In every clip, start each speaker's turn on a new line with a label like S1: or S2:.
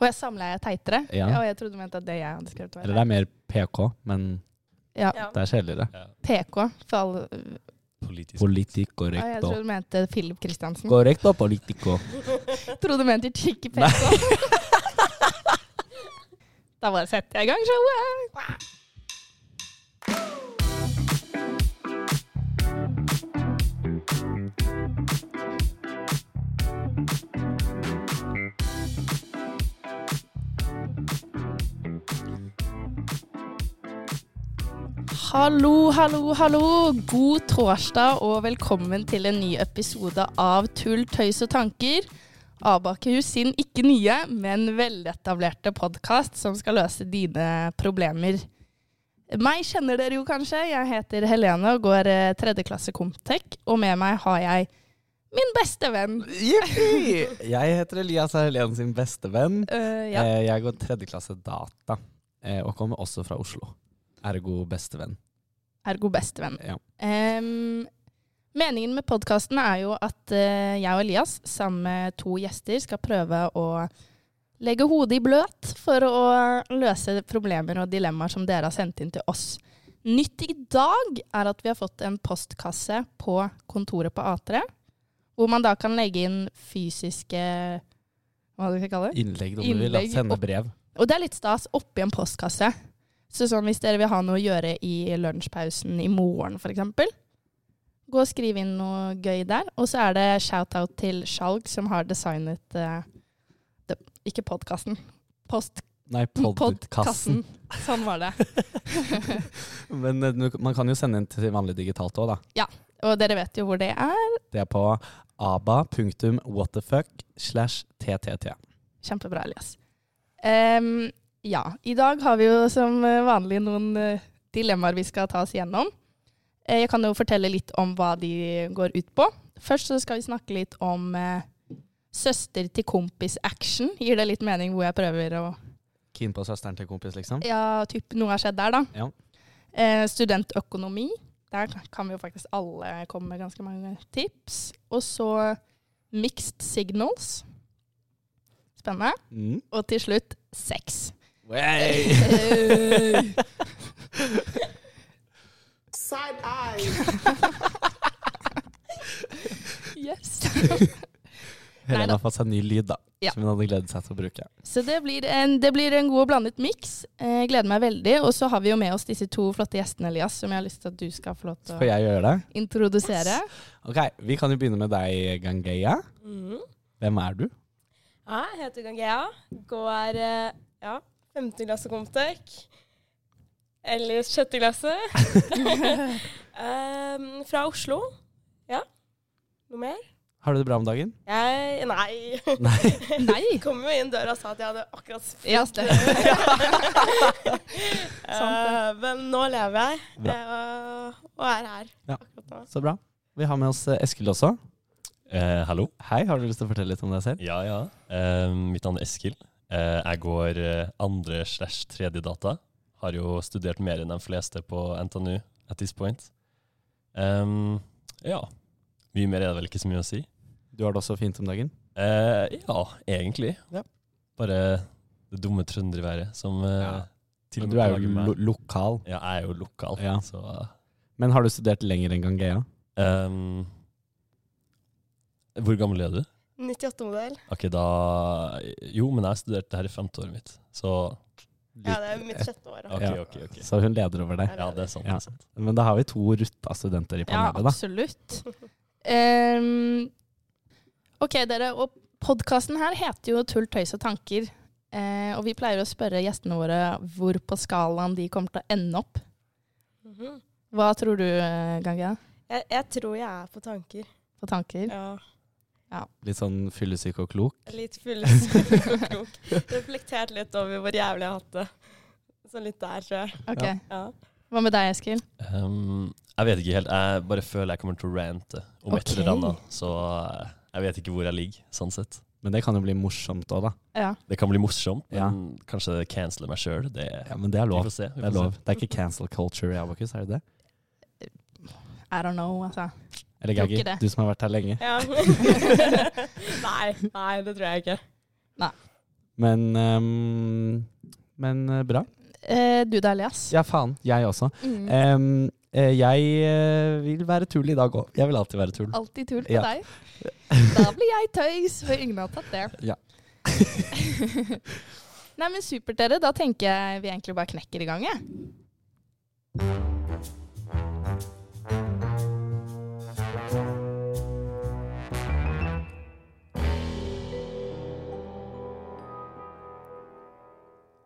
S1: Og jeg samleie er teitere.
S2: Ja.
S1: Og jeg trodde du mente at det jeg hadde skrevet, var
S2: Eller det er mer PK, men
S1: Ja.
S3: Ja.
S2: det er kjedeligere.
S1: PK. For alle
S4: Politisk.
S2: Politikk
S1: Ja, Jeg
S2: korrekt
S1: trodde
S2: og
S1: du mente Philip Kristiansen.
S2: Korrekt og politico.
S1: Trodde du mente Chicky PK. da bare setter jeg i gang showet. Hallo, hallo, hallo. God torsdag og velkommen til en ny episode av Tull, tøys og tanker. Abakehus sin ikke nye, men veletablerte podkast som skal løse dine problemer. Meg kjenner dere jo kanskje. Jeg heter Helene og går eh, tredjeklasse Comtec. Og med meg har jeg min beste venn.
S2: Jippi! Jeg heter Elias og er Helen sin beste venn.
S1: Eh, ja.
S2: Eh, Jeg går tredje klasse data, eh, og kommer også fra Oslo. Ergo bestevenn.
S1: Ergo bestevenn.
S2: Ja.
S1: Em, meningen med podkasten er jo at eh, jeg og Elias sammen med to gjester skal prøve å legge hodet i bløt for å løse problemer og dilemmaer som dere har sendt inn til oss. Nytt i dag er at vi har fått en postkasse på kontoret på A3, hvor man da kan legge inn fysiske Hva skal jeg kalle det?
S2: Innlegg om du vil. da.
S1: Innlegg
S2: Sende
S1: opp-
S2: brev.
S1: Og det er litt stas oppi en postkasse. Så sånn hvis dere vil ha noe å gjøre i lunsjpausen i morgen f.eks., gå og skriv inn noe gøy der. Og så er det shout-out til Skjalg, som har designet eh, det, Ikke podkasten. Post,
S2: Nei, podkassen.
S1: podkassen. Sånn var det.
S2: Men eh, du- man kan jo sende inn til vanlig digitalt òg, da.
S1: Og dere vet jo hvor det er.
S2: Det er på aba.whatthefuck slash ttt.
S1: Kjempebra, Elias. Em, ja, i dag har vi jo som vanlig noen eh, dilemmaer vi skal ta oss gjennom. Eh, Jeg kan jo fortelle litt om hva de går ut på. Først så skal vi snakke litt om eh, søster til kompis-action. Gir det litt mening hvor jeg prøver å
S2: Keen på søsteren til kompis, liksom?
S1: Ja, typ noe har skjedd der, da.
S2: Ja.
S1: Eh, studentøkonomi. Der kan vi jo faktisk alle komme med ganske mange tips. Og så mixed signals. Spennende.
S2: Mm.
S1: Og til slutt sex.
S2: Wey!
S5: Side eye.
S1: yes.
S2: Helene
S1: Neida.
S2: har fått seg ny lyd, da.
S1: Ja.
S2: Som hun hadde gledet seg til å bruke.
S1: Så det blir, en, det blir en god og blandet miks. Eh, gleder meg veldig. Og så har vi jo med oss disse to flotte gjestene, Elias, som jeg har lyst til at du skal få lov til
S2: Får
S1: å
S2: jeg gjøre det?
S1: introdusere.
S2: Ok, Vi kan jo begynne med deg, Gangeya.
S1: Mm.
S3: Mhm.
S2: Hvem er du?
S3: Ja, jeg heter Gangea. Går eh, ja, 5. klasse Comtec. Eller 6. klasse. Ehm, fra Oslo. Ja. Noe mer?
S2: Har du det bra om dagen?
S3: Jeg Nei.
S2: Nei.
S1: Nei!
S3: Jeg kom jo inn døra og sa at jeg hadde akkurat sp-
S1: Ja, stemmer.
S3: Eh, Men nå lever jeg.
S2: Bra.
S3: eh, og er her
S2: Ja.
S3: akkurat nå.
S2: Så bra. Vi har med oss eh, Eskil også.
S4: Eh, hallo?
S2: Hei, har du lyst til å fortelle litt om deg selv?
S4: Ja, ja. Eh, mitt navn er Eskil. Eh, jeg går eh, andre slash tredje data. Har jo studert mer enn de fleste på NTNU at this point. Em, ja. Mye mer er det vel ikke så mye å si.
S2: Du har det også fint om dagen.
S4: Eh, ja, egentlig.
S2: Ja.
S4: Bare det dumme trønderværet som eh,
S2: Ja.
S4: til og
S2: du
S4: med
S2: er
S4: plager
S2: jo
S4: meg.
S2: lo lokal.
S4: Ja, jeg er jo lokal,
S2: Ja.
S4: så
S2: Men har du studert lenger enn Gangeya?
S4: ehm, Hvor gammel er du?
S3: 98-modell.
S4: Ok, da Jo, men jeg har studert det her i femte året mitt, så
S3: Ja, det er mitt sjette år. da.
S4: Ok,
S2: Ja.
S4: ok, ok.
S2: Så hun leder over deg.
S4: Ja, det er sant.
S2: Ja.
S4: Det er sant.
S2: Men da har vi to rutta studenter i
S1: Ja,
S2: panelet, da.
S1: absolutt. Em, ok, dere. Og podkasten her heter jo Tull, tøys og tanker. Eh, og vi pleier å spørre gjestene våre hvor på skalaen de kommer til å ende opp.
S3: Mhm.
S1: Hva tror du, Gangia,
S3: Jeg, jeg tror jeg er på tanker.
S1: på tanker?
S3: Ja.
S2: Litt sånn fyllesyk og klok.
S3: Litt fyllesyk og klok. Reflektert litt over hvor jævlig jeg har hatt det. Så litt der, tror jeg.
S1: Ok.
S2: Ja.
S3: Ja.
S1: Hva med deg, Eskil?
S4: Ehm, jeg vet ikke helt. Jeg bare føler jeg kommer til å rante om et
S1: Ok.
S4: eller annet. Så eh, jeg vet ikke hvor jeg ligger, sånn sett.
S2: Men det kan jo bli morsomt òg, da.
S1: Ja.
S4: Det kan bli morsomt, men
S2: Ja.
S4: kanskje det canceler meg sjøl. Det
S2: Ja, men det er
S4: Vi
S2: lov.
S4: får se. Vi
S2: Det er
S4: får se.
S2: lov. Det er ikke cancel culture i Abakus, er det det?
S1: I don't know, altså.
S2: Eller
S1: Tror
S2: Gaggi,
S1: ikke det.
S2: du som har vært her lenge.
S3: Ja. nei, nei, det tror jeg ikke.
S2: Men, ehm, men eh, bra.
S1: Eh, du da, Elias?
S2: Ja, faen. Jeg også.
S1: Mm.
S2: Ehm, eh, jeg eh, vil være tull i dag òg. Jeg vil alltid være tull.
S1: Alltid tull på
S2: Ja.
S1: deg. Da blir jeg tøys, for ingen har tatt det.
S2: Ja.
S1: Nei, men supert, dere. Da tenker jeg vi egentlig bare knekker i gang, jeg.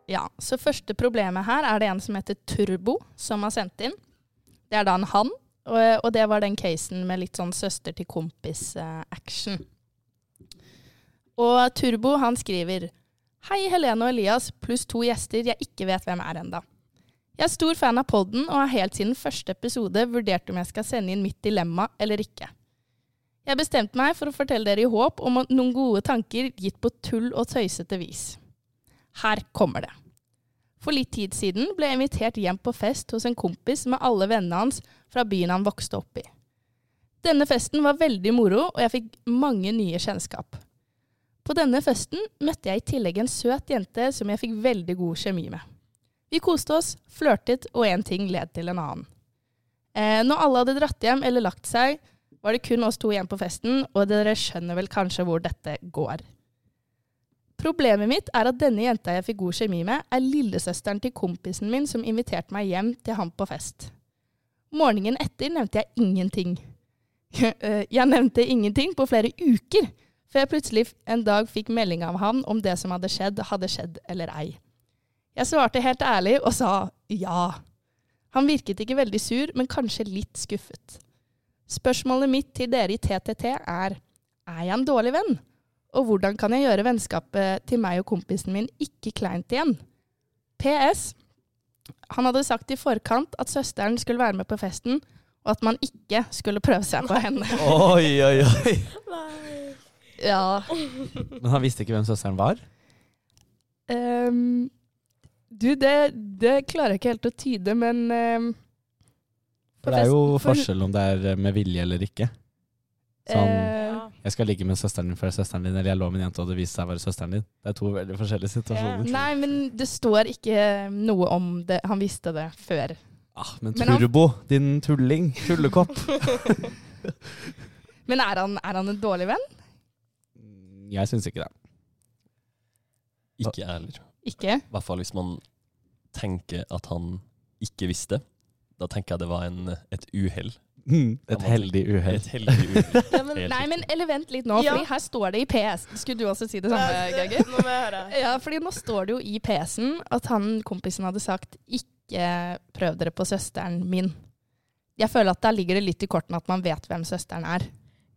S1: Ja, så første problemet her er det en som heter Turbo, som har sendt inn. Det er da en han, og, og det var den casen med litt sånn søster til kompis-action. og Turbo, han skriver Hei, Helene og Elias, pluss to gjester jeg ikke vet hvem er enda. Jeg er stor fan av podden og har helt siden første episode vurdert om jeg skal sende inn mitt dilemma eller ikke. Jeg bestemte meg for å fortelle dere i håp om at noen gode tanker gitt på tull og tøysete vis. Her kommer det. For litt tid siden ble jeg invitert hjem på fest hos en kompis med alle vennene hans fra byen han vokste opp i. Denne festen var veldig moro, og jeg fikk mange nye kjennskap. På denne festen møtte jeg i tillegg en søt jente som jeg fikk veldig god kjemi med. Vi koste oss, flørtet, og én ting led til en annen. Eh, når alle hadde dratt hjem eller lagt seg, var det kun oss to igjen på festen, og dere skjønner vel kanskje hvor dette går. Problemet mitt er at denne jenta jeg fikk god kjemi med, er lillesøsteren til kompisen min som inviterte meg hjem til ham på fest. Morgenen etter nevnte jeg ingenting. Eh, Jeg nevnte ingenting på flere uker, før jeg plutselig f- en dag fikk melding av han om det som hadde skjedd, hadde skjedd eller ei. Jeg svarte helt ærlig og sa ja. Han virket ikke veldig sur, men kanskje litt skuffet. Spørsmålet mitt til dere i TTT er er jeg en dårlig venn? Og hvordan kan jeg gjøre vennskapet til meg og kompisen min ikke kleint igjen? PS. Han hadde sagt i forkant at søsteren skulle være med på festen, og at man ikke skulle prøve seg på henne.
S2: Oi, oi, oi.
S3: Nei.
S1: Ja.
S2: Men han visste ikke hvem søsteren var?
S1: Ehm, du, det, det klarer jeg ikke helt å tyde, men ehm,
S2: For det er jo
S1: for-
S2: forskjell om det er eh, med vilje eller ikke. Sånn,
S1: eh,
S3: Ja.
S2: jeg skal ligge med søsteren din før søsteren din, eller jeg lå med en jente og det viste seg å være søsteren din. Det er to veldig forskjellige situasjoner.
S1: Nei, men det står ikke noe om det. Han visste det før.
S2: Ah, men
S1: Men han-
S2: Turbo, din tulling. Tullekopp.
S1: Men er han, er han en dårlig venn?
S2: Mm, Jeg syns ikke det.
S4: Ikke jeg heller.
S1: Ikke?
S4: I hvert fall hvis man tenker at han ikke visste. Da tenker jeg det var en, et uhell.
S2: Mm, Et heldig uhell.
S4: Et heldig uhell.
S3: Ja, men,
S4: Helt
S1: Nei,
S4: riktig.
S1: men eller vent litt nå,
S3: Ja.
S1: Fordi her står det i PS. Skulle du også si det samme,
S3: Nei, det-
S1: Gauge?
S3: Nå må jeg høre.
S1: Ja, fordi nå står det jo i PS-en at han kompisen hadde sagt ikke prøv dere på søsteren min. Jeg føler at der ligger det litt i kortene at man vet hvem søsteren er.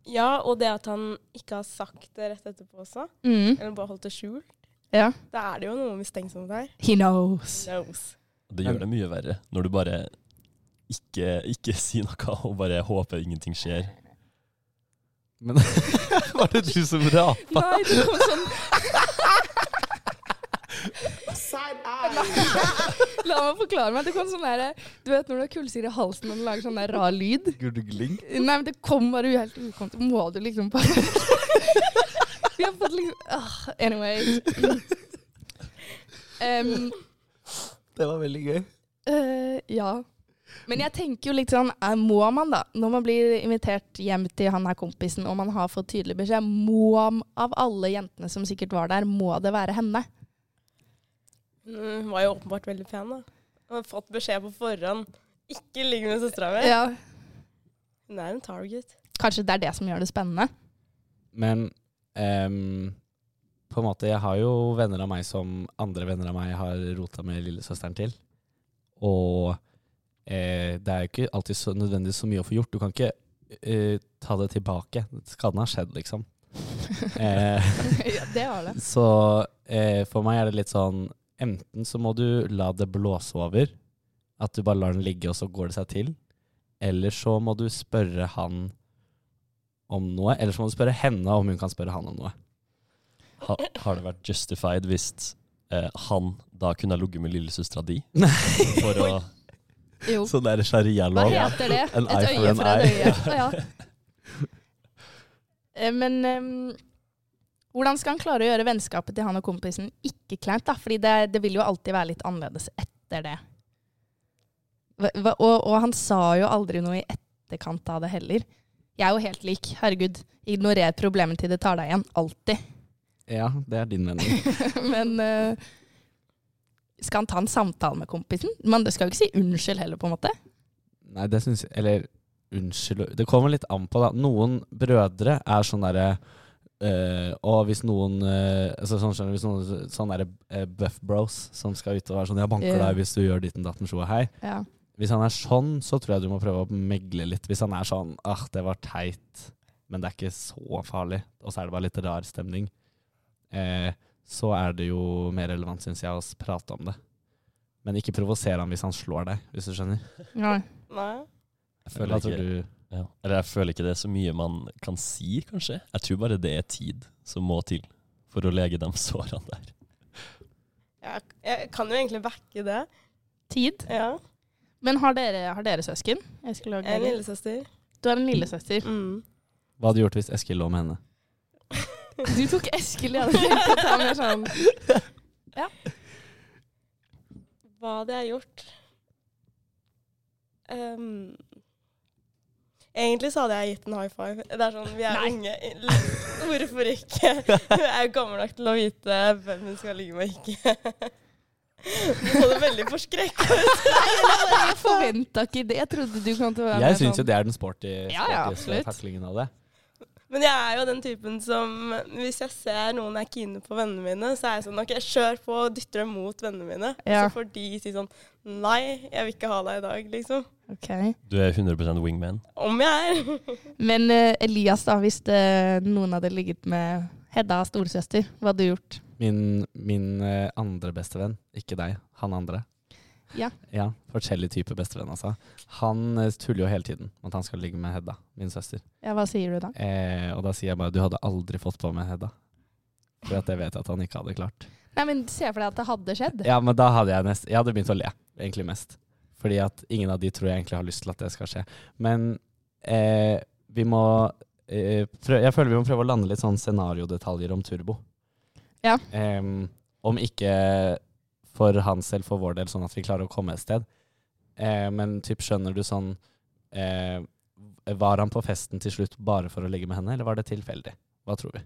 S3: Ja, og det at han ikke har sagt det rett etterpå også,
S1: Mm.
S3: eller bare holdt det skjult,
S1: Ja.
S3: da er det jo noe mistenksomt her.
S1: He knows.
S3: Knows.
S4: Det gjør det mye verre når du bare ikke, ikke sier noe og bare håper ingenting skjer.
S2: Men var det du som rapa?
S1: Nei, det kom sånn La meg forklare meg. Det kom sånn der, Du vet når du har kullsyre i halsen og den lager sånn der rar lyd?
S2: Gurgling?
S1: Nei, men det kom bare helt ukomt. Må du liksom bare Vi har fått liksom ah, Anyway. Em,
S2: Det var veldig gøy.
S1: eh, ja. Men jeg tenker jo litt sånn eh, Må man, da? Når man blir invitert hjem til han her kompisen, og man har fått tydelig beskjed, må man- av alle jentene som sikkert var der, må det være henne?
S3: Mm, Hun var jo åpenbart veldig pen, da. Hun har fått beskjed på forhånd. Ikke ligg med søstera mi.
S1: Ja.
S3: Hun er en target.
S1: Kanskje det er det som gjør det spennende?
S2: Men ehm, på en måte, jeg har jo venner av meg som andre venner av meg har rota med lillesøsteren til. Og eh, det er jo ikke alltid så nødvendig så mye å få gjort. Du kan ikke eh, ta det tilbake. Skaden har skjedd, liksom. Eh,
S1: ja, det har det.
S2: så eh, for meg er det litt sånn Enten så må du la det blåse over, at du bare lar den ligge, og så går det seg til. Eller så må du spørre han om noe. Eller så må du spørre henne om hun kan spørre han om noe.
S4: Ha, har det vært justified hvis eh, han da kunne ha ligget med lillesøstera di?
S2: Nei.
S4: For å
S1: Jo.
S2: Sånn der
S1: Hva
S2: sharia-lov.
S1: heter det?
S2: En
S1: et
S2: eye for
S1: øye
S2: an
S1: fra et øye.
S2: eye.
S1: Å, ja. Eh, Men em, Hvordan skal han klare å gjøre vennskapet til han og kompisen ikke kleint? da? Fordi det, det vil jo alltid være litt annerledes etter det. Hva- hva- Og, og han sa jo aldri noe i etterkant av det heller. Jeg er jo helt lik. Herregud, ignorer problemet til det tar deg igjen. Alltid.
S2: Ja, det er din mening.
S1: Men eh, skal han ta en samtale med kompisen? Man skal jo ikke si unnskyld heller, på en måte.
S2: Nei, det syns jeg Eller unnskyld Det kommer litt an på, da. Noen brødre er sånn derre eh, og hvis noen eh, altså, sånn, skjønner, du, hvis noen sånn derre eh, buff bros som skal ut og være sånn 'Jeg banker
S1: Ja.
S2: deg hvis du gjør ditten datten sjo og hei'.
S1: Ja.
S2: Hvis han er sånn, så tror jeg du må prøve å megle litt. Hvis han er sånn 'Ah, det var teit, men det er ikke så farlig', og så er det bare litt rar stemning, eh, så er det jo mer relevant, syns jeg, å s- prate om det. Men ikke provoser han hvis han slår deg, hvis du skjønner.
S1: Nei.
S3: Nei.
S2: Jeg
S4: føler
S2: føler
S4: ikke-
S2: du
S4: Ja. Eller jeg føler ikke det er så mye man kan si, kanskje. Jeg tror bare det er tid som må til for å lege de sårene der.
S3: Jeg, jeg kan jo egentlig backe det.
S1: Tid.
S3: Ja.
S1: Men har dere, har dere søsken? Jeg skulle også-
S3: Jeg er en lillesøster.
S1: Du er en lillesøster.
S3: Mm.
S2: Hva hadde du gjort hvis Eskil lå med henne?
S1: Du tok Eskil, jeg hadde tenkt at han var sånn
S3: Hva hadde jeg gjort? Ehm, egentlig så hadde jeg gitt en high five. Det er sånn, Vi er
S1: Nei.
S3: unge. L- Hvorfor ikke? Hun er jo gammel nok til å vite hvem hun skal ligge med og ikke. Du så det veldig forskrekka
S1: Jeg forventa ikke det. Jeg trodde du kom til å være
S2: Jeg
S1: mer
S2: syns jo
S1: sånn-
S2: det er den sporty,
S1: Ja, ja,
S2: sportieste
S1: absolutt.
S2: taklingen av det.
S3: Men jeg er jo den typen som Hvis jeg ser noen jeg er keene på vennene mine, så er jeg sånn OK, kjør på og dytter dem mot vennene mine.
S1: Ja.
S3: Så får de si sånn Nei, jeg vil ikke ha deg i dag, liksom.
S1: Ok.
S4: Du er 100 wingman.
S3: Om jeg er.
S1: Men eh, Elias, da, hvis eh, noen hadde ligget med Hedda, storesøster, hva hadde du gjort?
S2: Min, min eh, andre bestevenn, ikke deg, han andre.
S1: Ja.
S2: ja forskjellig type bestevenn, altså. Han eh, tuller jo hele tiden med at han skal ligge med Hedda, min søster.
S1: Ja, hva sier du da?
S2: Eh, og da sier jeg bare du hadde aldri fått på med Hedda. For at jeg vet at han ikke hadde klart.
S1: Nei, men Se for deg at det hadde skjedd.
S2: Ja, men da hadde jeg nest, Jeg hadde begynt å le, egentlig mest. Fordi at ingen av de tror jeg egentlig har lyst til at det skal skje. Men eh, vi må eh, prø- Jeg føler vi må prøve å lande litt sånn scenariodetaljer om Turbo.
S1: Ja.
S2: Em, om ikke for hans selv, for vår del, sånn at vi klarer å komme et sted. Eh, men typ, skjønner du sånn eh, Var han på festen til slutt bare for å ligge med henne, eller var det tilfeldig? Hva tror vi?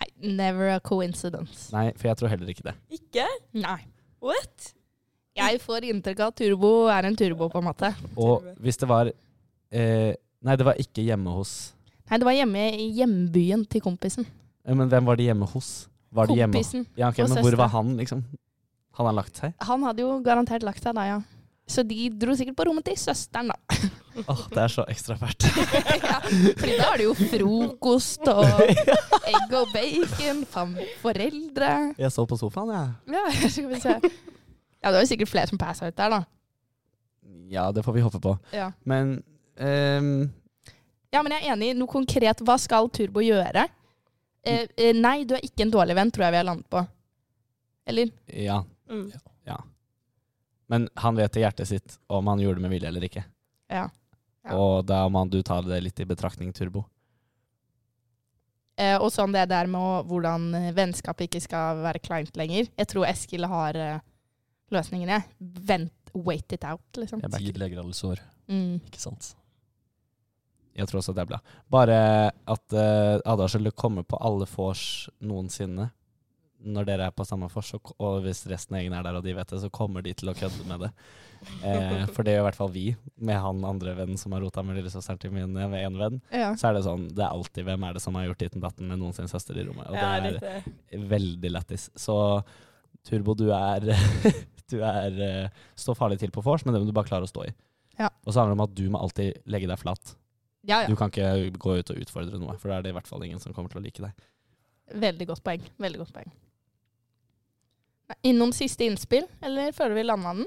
S1: Nei, Never a coincidence.
S2: Nei, for jeg tror heller ikke det.
S3: Ikke?
S1: Nei.
S3: What?
S1: Jeg får inntrykk av at turbo er en turbo, på en måte.
S2: Og hvis det var eh, Nei, det var ikke hjemme hos
S1: Nei, det var hjemme i hjembyen til kompisen.
S2: Eh, Men hvem var de hjemme hos? Var de hjemme?
S1: kompisen.
S2: Ja, ok,
S1: og
S2: men hvor
S1: søstera.
S2: var han, liksom? Hadde han lagt seg?
S1: Han hadde jo garantert lagt seg da, ja. Så de dro sikkert på rommet til søsteren, da.
S2: Åh, det er så ekstravert.
S1: ja, fordi da er det jo frokost og egg og bacon, fam foreldre.
S2: Jeg så på sofaen, jeg.
S1: Ja, skal vi se. Ja, det var jo sikkert flere som passa ut der, da.
S2: Ja. ja, det får vi håpe på.
S1: Ja.
S2: Men ehm,
S1: ja, men jeg er enig. i Noe konkret. Hva skal Turbo gjøre? Eh, eh, nei, du er ikke en dårlig venn, tror jeg vi har landet på. Eller?
S2: ja.
S3: Mm.
S2: Men han vet i hjertet sitt om han gjorde det med vilje eller ikke.
S1: Ja. Ja.
S2: Og da må du ta det litt i betraktning, Turbo.
S1: Eh, og sånn det der med å, hvordan eh, vennskapet ikke skal være kleint lenger. Jeg tror Eskil har eh, løsningen, jeg. Vent, wait it out, liksom.
S2: Jeg backer.
S4: Tid leger alle sår,
S1: Mm.
S4: ikke sant?
S2: Jeg tror også det er bra. Bare at eh, Ada skulle komme på alle vors noensinne. Når dere er på samme vors, og- og hvis resten av gjengen er der og de vet det, så kommer de til å kødde med det. Eh, for det gjør i hvert fall vi, med han andre vennen som har rota med lillesøsteren til min eh, med en venn.
S1: Ja.
S2: Så er det sånn, det er alltid hvem er det som har gjort ditten datten med noen sin søster i rommet. Og
S3: Ja,
S2: det er
S3: riktig.
S2: veldig lættis. Så Turbo, du er Du er eh, står farlig til på vors, men det må du bare klare å stå i.
S1: Ja.
S2: Og så handler det om at du må alltid legge deg flat.
S1: ja, ja.
S2: Du kan ikke gå ut og utfordre noe, for da er det i hvert fall ingen som kommer til å like deg.
S1: Veldig godt poeng. Veldig godt poeng. Nei, inn Noen siste innspill, eller føler vi landa den?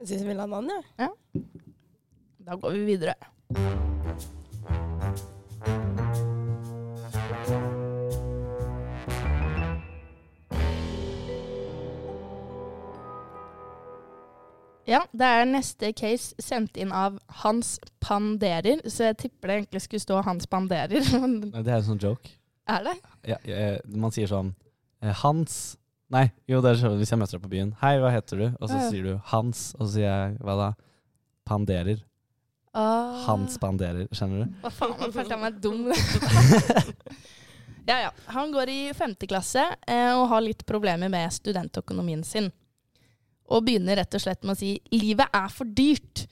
S3: Jeg syns vi la den an, jeg.
S1: Da går vi videre. Ja, det er neste case sendt inn av Hans Panderer, så jeg tipper det egentlig skulle stå Hans Panderer. men
S2: det er en sånn joke.
S1: Er det?
S2: ja, eh, man sier sånn eh, Hans Nei, jo, det er sånn hvis jeg møter deg på byen. Hei, hva heter du? Og så
S1: Ja.
S2: sier du Hans, og så sier jeg hva da? Panderer.
S1: Ah.
S2: Hans panderer, skjønner du?
S1: Hva faen, nå følte jeg meg dum. ja, ja. Han går i femte klasse eh, og har litt problemer med studentøkonomien sin. Og begynner rett og slett med å si livet er for dyrt.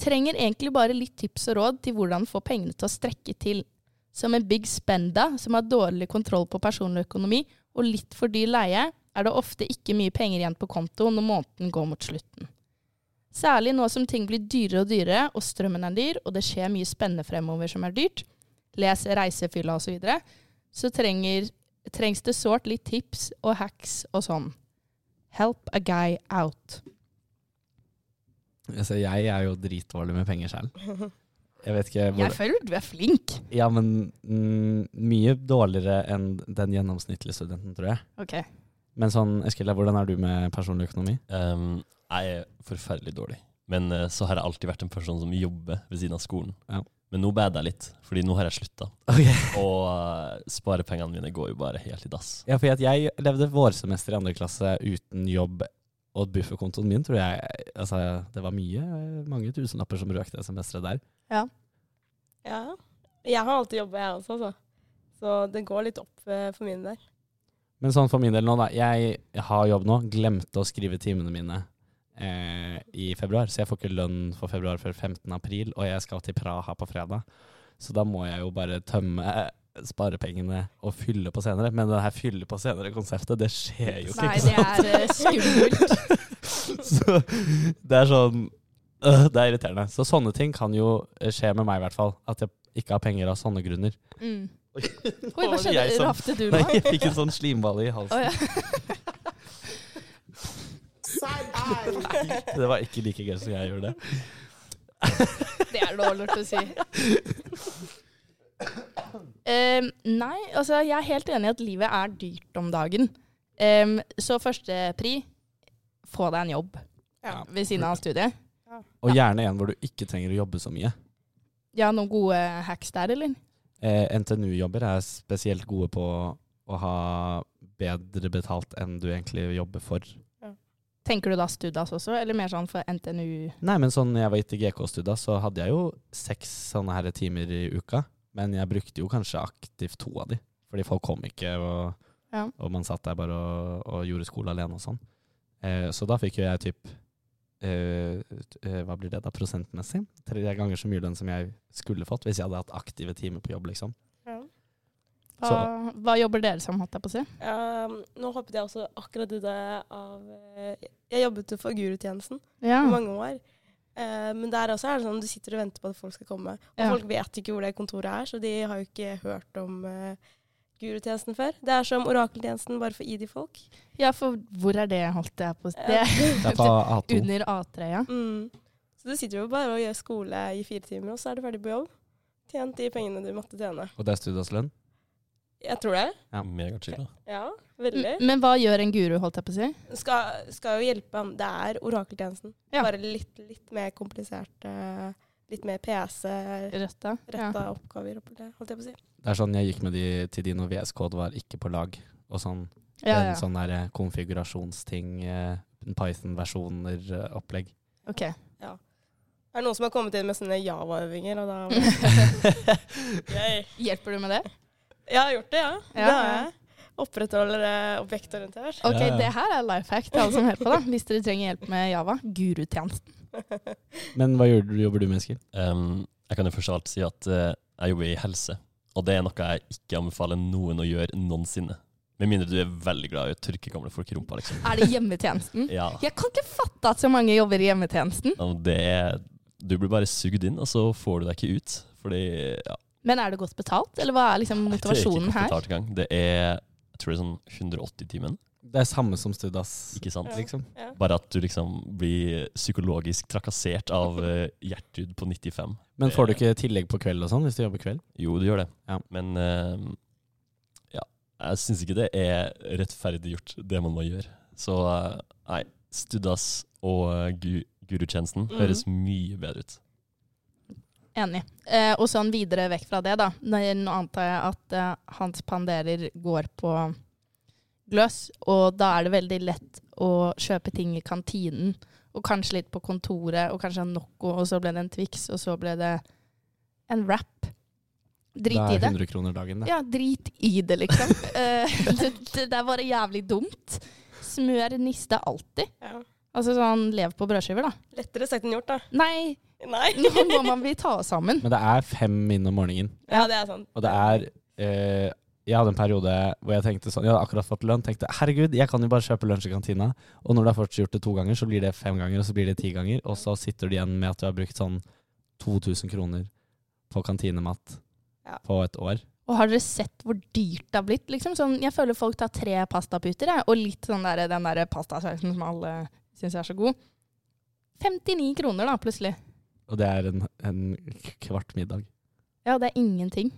S1: Trenger egentlig bare litt tips og råd til hvordan få pengene til å strekke til. Som en big spenda som har dårlig kontroll på personlig økonomi og litt for dyr leie, er det ofte ikke mye penger igjen på konto når måneden går mot slutten. Særlig nå som ting blir dyrere og dyrere, og strømmen er dyr, og det skjer mye spennende fremover som er dyrt, les reisefylla osv., så, videre, så trenger, trengs det sårt litt tips og hacks og sånn. Help a guy out.
S2: Altså, jeg er jo dritdårlig med penger selv. Jeg vet ikke hvor
S1: Jeg føler du er flink.
S2: Ja, men mm, mye dårligere enn den gjennomsnittlige studenten, tror jeg.
S1: Ok.
S2: Men sånn, Eskil, hvordan er du med personlig økonomi?
S4: Um, jeg er forferdelig dårlig. Men eh, så har jeg alltid vært en person som jobber ved siden av skolen.
S2: Ja.
S4: Men nå bader jeg litt, fordi nå har jeg slutta.
S2: Ok.
S4: Og eh, sparepengene mine går jo bare helt i dass.
S2: Ja, fordi at jeg levde vårsemester i andre klasse uten jobb, og bufferkontoen min tror jeg Altså, det var mye, mange tusenlapper som røk det semesteret der.
S3: Ja. Jeg har alltid jobba, jeg også, altså. Så det går litt opp eh, for min del.
S2: Men sånn for min del nå, da. Jeg har jobb nå. Glemte å skrive timene mine eh, i februar, så jeg får ikke lønn for februar før 15. april, og jeg skal til Praha på fredag. Så da må jeg jo bare tømme eh, sparepengene og fylle på senere. Men det her fylle på senere-konseptet, det skjer jo ikke.
S1: Nei, det er eh, skummelt.
S2: Så det er sånn øh, Det er irriterende. Så sånne ting kan jo eh, skje med meg, i hvert fall. At jeg ikke har penger av sånne grunner.
S1: Mm.
S2: Oi,
S1: Oi, hva skjedde?
S2: Jeg som-
S1: Rafte du
S2: Nei,
S1: nå?
S2: jeg fikk en sånn slimballe i halsen.
S1: Å, ja.
S2: Det var ikke like gøy som jeg gjorde det.
S1: Det er dårlig å si. Ehm, nei, altså jeg er helt enig i at livet er dyrt om dagen. Ehm, så første pri, få deg en jobb
S3: Ja.
S1: ved siden av studiet.
S2: Og gjerne en hvor du ikke trenger å jobbe så mye.
S1: Ja, noen gode hacks der, eller?
S2: Eh, NTNU-jobber er spesielt gode på å ha bedre betalt enn du egentlig jobber for.
S1: Tenker du da Studas også, eller mer sånn for NTNU?
S2: Nei, men sånn jeg var i GK-studa, så hadde jeg jo seks sånne her timer i uka. Men jeg brukte jo kanskje aktivt to av de. Fordi folk kom ikke, og,
S1: Ja.
S2: og man satt der bare og, og gjorde skole alene og sånn. Eh, så da fikk jo jeg typ eh, t- eh, Hva blir det da, prosentmessig? Tre ganger så mye lønn som jeg skulle fått hvis jeg hadde hatt aktive timer på jobb, liksom.
S3: Ja.
S1: Hva, hva jobber dere som, holdt jeg på å si?
S3: Um, nå hoppet jeg også akkurat ut av eh, Jeg jobbet jo for Gurutjenesten
S1: Ja.
S3: i mange år. Eh, men der også er det sånn du sitter og venter på at folk skal komme. Og
S1: Ja.
S3: folk vet ikke hvor det kontoret er, så de har jo ikke hørt om eh, Gurutjenesten før. Det er som orakeltjenesten, bare for ID-folk.
S1: ja, for hvor er det, holdt jeg på å si? Det er
S2: Det er på A2.
S1: under A3, ja.
S3: Mm. Så du sitter jo bare og gjør skole i fire timer, og så er du ferdig på jobb. Tjent de pengene du måtte tjene.
S2: Og det er studielønn.
S3: Jeg tror det.
S2: Ja.
S4: Megachill, da.
S3: Ja, veldig.
S1: M- Men hva gjør en guru, holdt jeg på å si?
S3: Skal, skal jo hjelpe ham. Det er orakeltjenesten.
S1: Ja.
S3: Bare litt, litt mer komplisert. eh, Litt mer PC-retta
S1: Røtta? Ja.
S3: oppgaver, holdt jeg på å si.
S2: Det er sånn jeg gikk med de til de når VS-kode var ikke på lag, og sånn.
S1: Ja,
S2: en
S1: ja.
S2: sånn der eh, konfigurasjonsting, eh, Python-versjoner-opplegg.
S1: Ok.
S3: Er det noen som har kommet inn med sånne Java-øvinger? Og da Yay.
S1: Hjelper du med det?
S3: Jeg har gjort det, ja.
S1: Ja,
S3: Det har
S1: ja.
S3: jeg. Opprettholder eh, objektorientert.
S1: Ok,
S2: Ja, ja.
S1: det her er life hack til alle som hører på, da. Hvis dere trenger hjelp med Java. Gurutjenesten.
S2: Men hva gjør, du- jobber du med, Eskil?
S4: Um, jeg kan jo først av alt si at eh, jeg jobber i helse, og det er noe jeg ikke anbefaler noen å gjøre noensinne. Med mindre du er veldig glad i å tørke gamle folk i rumpa, liksom.
S1: Er det hjemmetjenesten?
S4: Ja,
S1: Jeg kan ikke fatte at så mange jobber i hjemmetjenesten.
S4: og det er, Du blir bare sugd inn, og så får du deg ikke ut. Fordi ja,
S1: Men er det godt betalt, eller hva er liksom
S4: det er ikke
S1: motivasjonen her?
S4: betalt engang. Det er jeg tror det er sånn 180 timen,
S2: Det er samme som Studas,
S4: ikke sant?
S2: liksom.
S3: Ja.
S4: Bare at du liksom blir psykologisk trakassert av eh, Gjertrud på 95.
S2: Men får du ikke tillegg på kveld og sånn, hvis du jobber kveld?
S4: Jo, det gjør det.
S2: Ja.
S4: Men eh, ja, jeg syns ikke det er rettferdiggjort, det man må gjøre. Så eh, nei,
S1: Mm.
S4: Studas og eh, gu Gurutjenesten
S3: Mhm.
S4: høres mye bedre ut.
S1: Enig. Eh, og sånn videre vekk fra det, da. Når- Nå antar jeg at eh, hans panderer går på gløs, og da er det veldig lett å kjøpe ting i kantinen, og kanskje litt på kontoret, og kanskje en Nocco, og så ble det en Twix, og så ble det en wrap. Drit i
S2: det
S1: det.
S2: er 100 kroner dagen, det.
S1: Ja, drit i det, liksom. Eh, det, det er bare jævlig dumt. Smør niste alltid.
S3: Ja.
S1: Altså sånn lev på brødskiver, da.
S3: Lettere sagt enn gjort, da.
S1: Nei,
S3: Nei.
S1: nå må man vi ta oss sammen.
S2: Men det er fem min om morgenen.
S3: Ja, det er sant.
S2: Og det er eh, Jeg hadde en periode hvor jeg tenkte sånn Jeg hadde akkurat fått lønn. Tenkte herregud, jeg kan jo bare kjøpe lunsj i kantina. Og når du har først gjort det to ganger, så blir det fem ganger, og så blir det ti ganger. Og så sitter du igjen med at du har brukt sånn 2000 kroner på kantinemat
S3: Ja.
S2: på et år.
S1: Og har dere sett hvor dyrt det har blitt? Liksom? Sånn, jeg føler folk tar tre pastaputer, jeg, og litt sånn der, den der pastasausen som alle syns er så god. 59 kroner, da, plutselig.
S2: Og det er en, en kvart middag.
S1: Ja, det er ingenting.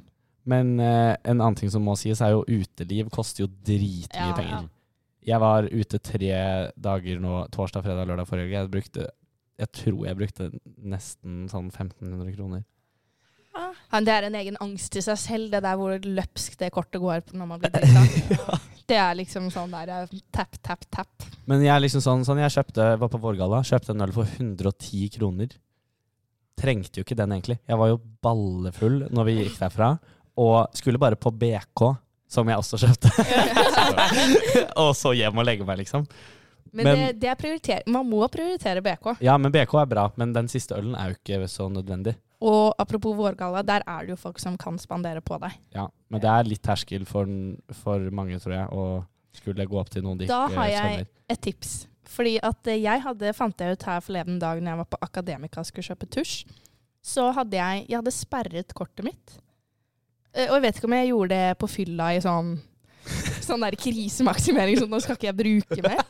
S2: Men eh, en annen ting som må sies, er jo uteliv koster jo dritmye
S1: Ja,
S2: penger.
S1: ja.
S2: Jeg var ute tre dager nå, torsdag, fredag, lørdag forrige uke. Jeg brukte jeg tror jeg brukte nesten sånn 1500 kroner.
S1: Ja, det er en egen angst i seg selv, det der hvor løpsk det kortet går på når man blir drita. Det er liksom sånn der eh, tap, tap, tap.
S2: Men jeg er liksom sånn, sånn jeg kjøpte, var på Vårgalla, kjøpte en øl for 110 kroner. Trengte jo ikke den egentlig. Jeg var jo ballefull når vi gikk derfra, og skulle bare på BK, som jeg også kjøpte. og så hjem og legge meg, liksom.
S1: Men,
S2: Men-
S1: det, det er prioriter man må prioritere BK.
S2: Ja, men BK er bra, men den siste ølen er jo ikke så nødvendig.
S1: Og apropos vårgalla, der er det jo folk som kan spandere på deg.
S2: Ja, men det er litt terskel for, for mange, tror jeg, å skulle gå opp til noen de
S1: Da
S2: ikke
S1: har
S2: eh,
S1: jeg-
S2: kjenner.
S1: et tips. Fordi at eh, jeg hadde, fant jeg ut her forleden dag når jeg var på Akademika og skulle kjøpe tusj, så hadde jeg, jeg hadde sperret kortet mitt. Eh, Og jeg vet ikke om jeg gjorde det på fylla i sånn, sånn der krisemaksimering, sånn nå skal ikke jeg bruke mer.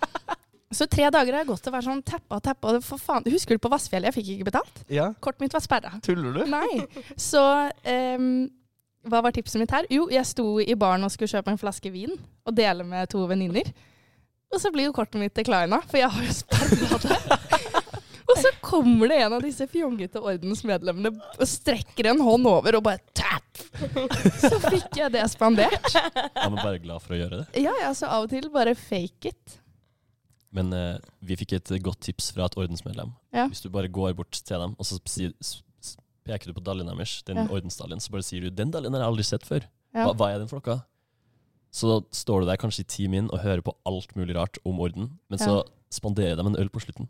S1: Så tre dager har jeg gått og vært sånn tappa, tappa, og for faen, husker du på Vassfjell, jeg fikk ikke betalt?
S2: Ja,
S1: Kortet mitt var sperret.
S2: tuller du?
S1: Nei. Så ehm, hva var tipset mitt her? Jo, jeg sto i baren og skulle kjøpe en flaske vin og dele med to venninner. Og så blir jo kortet mitt declina, for jeg har jo sperra det. Og så kommer det en av disse fjongete ordensmedlemmene og strekker en hånd over og bare tap! Så fikk jeg det spandert.
S4: Jeg er bare glad for å gjøre det.
S1: Ja, ja, så av og til bare fake it.
S4: Men eh, vi fikk et godt tips fra et ordensmedlem.
S1: Ja.
S4: Hvis du bare går bort til dem, og så sier- s- s- peker du på daljen deres, den
S1: Ja.
S4: ordensdaljen, så bare sier du 'den daljen har jeg aldri sett før'.
S1: Ja.
S4: Hva, hva er den for noe? Så da står du der kanskje i ti min og hører på alt mulig rart om orden, men
S1: Ja.
S4: så spanderer de en øl på slutten.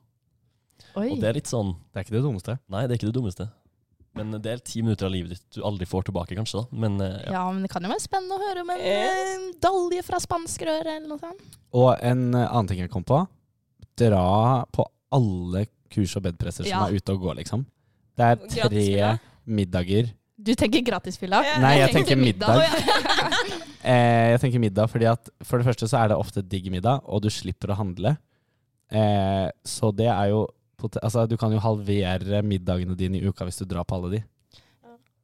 S1: Oi.
S4: Og det er litt sånn
S2: Det er ikke det dummeste.
S4: Nei, det er ikke det dummeste. Men det er ti minutter av livet ditt du aldri får tilbake, kanskje. da. Men eh, ja.
S1: Ja, men det kan jo være spennende å høre om en eh, dalje fra spanskrøret eller noe sånt.
S2: Og en eh, annen ting jeg kom på, dra på alle kurs og bedpresser
S1: Ja.
S2: som er ute og går, liksom. Det er tre
S3: Gratisfylla.
S2: middager.
S1: Du tenker gratisfylla?
S3: Ja.
S2: Nei, jeg
S1: Jeg
S2: tenker
S1: tenker
S2: middag.
S1: middag.
S2: Eh, jeg tenker middag, fordi at for det første så er det ofte digg middag, og du slipper å handle. Eh, så det er jo pot- Altså, du kan jo halvere middagene dine i uka hvis du drar på alle de.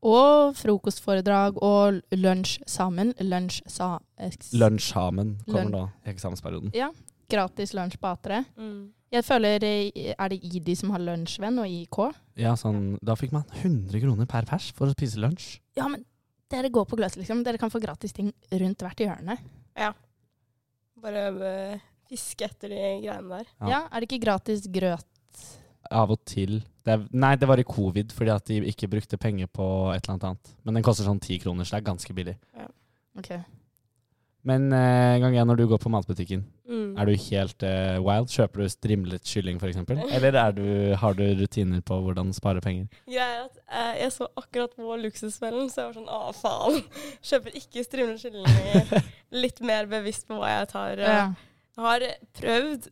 S1: Og frokostforedrag og lunsj sammen. Lunsj sa eh, eks-
S2: Lunsjhamen kommer
S1: Lun-
S2: nå, i eksamensperioden.
S1: Gratis lunsj på A3.
S3: Mm.
S1: Jeg føler eh, Er det ID som har lunsjvenn, og IK?
S2: Ja, sånn, da fikk man 100 kroner per pers for å spise lunsj.
S1: Ja, men dere går på gløs, liksom. Dere kan få gratis ting rundt hvert hjørne.
S3: Bare eh, fiske etter de greiene der.
S2: Ja.
S1: Ja, Er det ikke gratis grøt?
S2: Av og til. Det er, nei, det var i covid, fordi at de ikke brukte penger på et eller annet annet. Men den koster sånn 10 kroner, så det er ganske billig.
S1: Ok.
S2: Men eh, gang igjen, når du går på matbutikken,
S3: Mm.
S2: er du helt eh, wild? Kjøper du strimlet kylling, f.eks.? Eller er du, har du rutiner på hvordan spare penger?
S3: Greia er at eh, jeg så akkurat på luksusfellen, så jeg var sånn ah, faen. Kjøper ikke strimlet kylling. Litt mer bevisst på hva jeg tar. eh.
S1: Ja.
S3: Jeg har prøvd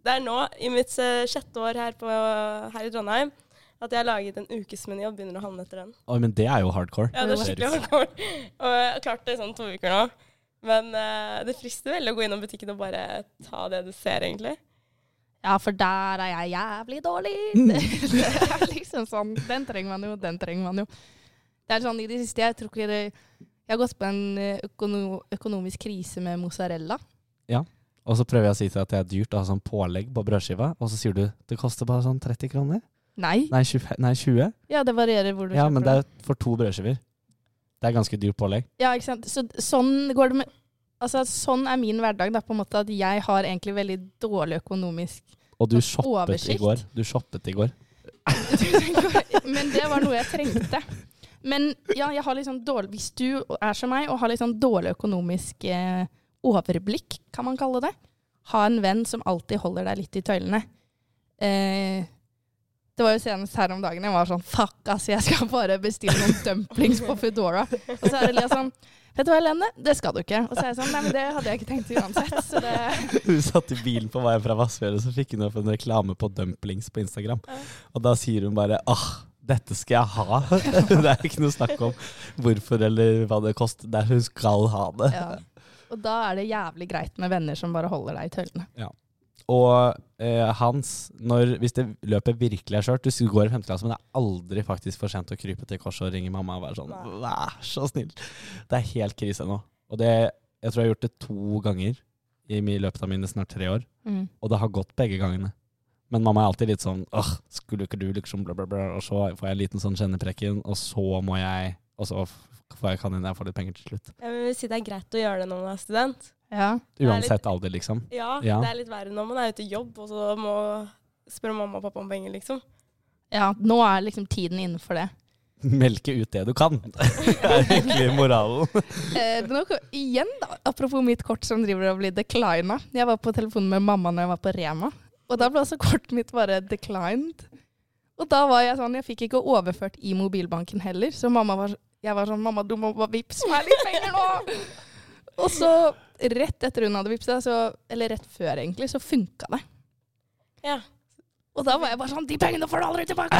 S3: Det er nå, i mitt eh, sjette år her, på, her i Trondheim, at jeg har laget en ukesmeny og begynner å handle etter den.
S2: Oi, men det er jo hardcore.
S3: Ja, det er skikkelig hardcore. Og jeg har klart det i sånn to uker nå. Men eh, det frister veldig å gå innom butikken og bare ta det du ser, egentlig.
S1: ja, for der er jeg jævlig dårlig!
S2: Mm.
S1: Det, det er liksom sånn Den trenger man jo, den trenger man jo. Det er sånn i det siste Jeg tror ikke det Jeg har gått på en eh, økono, økonomisk krise med mozzarella.
S2: Og så prøver jeg å si til deg at det er dyrt å ha sånn pålegg på brødskiva, og så sier du det koster bare sånn 30 kroner.
S1: Nei.
S2: Nei, 25, nei 20?
S1: Ja, det varierer hvor du
S2: Ja,
S1: kjøper
S2: men det er for to brødskiver. Det er ganske dyrt pålegg.
S1: Ja, ikke sant. Så, sånn går det med Altså, sånn er min hverdag, da, på en måte at jeg har egentlig veldig dårlig økonomisk
S2: Og du
S1: Og
S2: shoppet i
S1: oversikt.
S2: går. Du shoppet i går.
S1: Men det var noe jeg trengte. Men ja, jeg har litt sånn dårlig Hvis du er som meg og har litt sånn dårlig økonomisk eh, overblikk, kan man kalle det, ha en venn som alltid holder deg litt i tøylene. Eh, det var jo senest her om dagen jeg var sånn Fuck, altså, jeg skal bare bestille noen dumplings på Foodora. Og så er Elias sånn Vet du hva, Helene, det skal du ikke. Og så er jeg sånn Nei, men det hadde jeg ikke tenkt uansett, så det
S2: Hun satt i bilen på vei fra Vassfjøret, så fikk hun opp en reklame på dumplings på Instagram. Og da sier hun bare åh, dette skal jeg ha. det er ikke noe snakk om hvorfor eller hva det koster. Det er hun skal ha det.
S1: Ja. Og da er det jævlig greit med venner som bare holder deg i tøylene.
S2: Og eh, Hans, når, hvis det løpet virkelig er skjørt Du går i femte klasse, men det er aldri faktisk for sent å krype til korset og ringe mamma og være sånn Vær så snill. Det er helt krise nå. Og det, jeg tror jeg har gjort det to ganger i mi- løpet av mine snart tre år. Og det har gått begge gangene. Men mamma er alltid litt sånn Åh, skulle ikke du liksom bla, bla, bla. Og så får jeg en liten sånn kjenneprekken, og så må jeg Og så f- får jeg kan hende jeg får litt penger til slutt.
S3: Jeg vil si det er greit å gjøre det når man er student.
S1: Ja.
S3: er litt-
S2: Uansett alder, liksom.
S3: Ja,
S2: Ja.
S3: det er litt verre når man er ute i jobb, og så må spørre mamma og pappa om penger, liksom.
S1: ja, nå er liksom tiden inne for det.
S2: Melke ut det du kan, er egentlig moralen.
S1: Eh, men nå- igjen, da, apropos mitt kort som driver og blir declina. Jeg var på telefonen med mamma når jeg var på Rema, og da ble også kortet mitt bare declined. Og da var jeg sånn, jeg fikk ikke overført i mobilbanken heller, så mamma var, jeg var sånn, mamma, du må bare vips meg litt penger nå! og så, rett etter hun hadde vipset, så, eller rett før egentlig, så funket det.
S3: Ja.
S1: Og da var jeg bare sånn, de pengene får du aldri tilbake!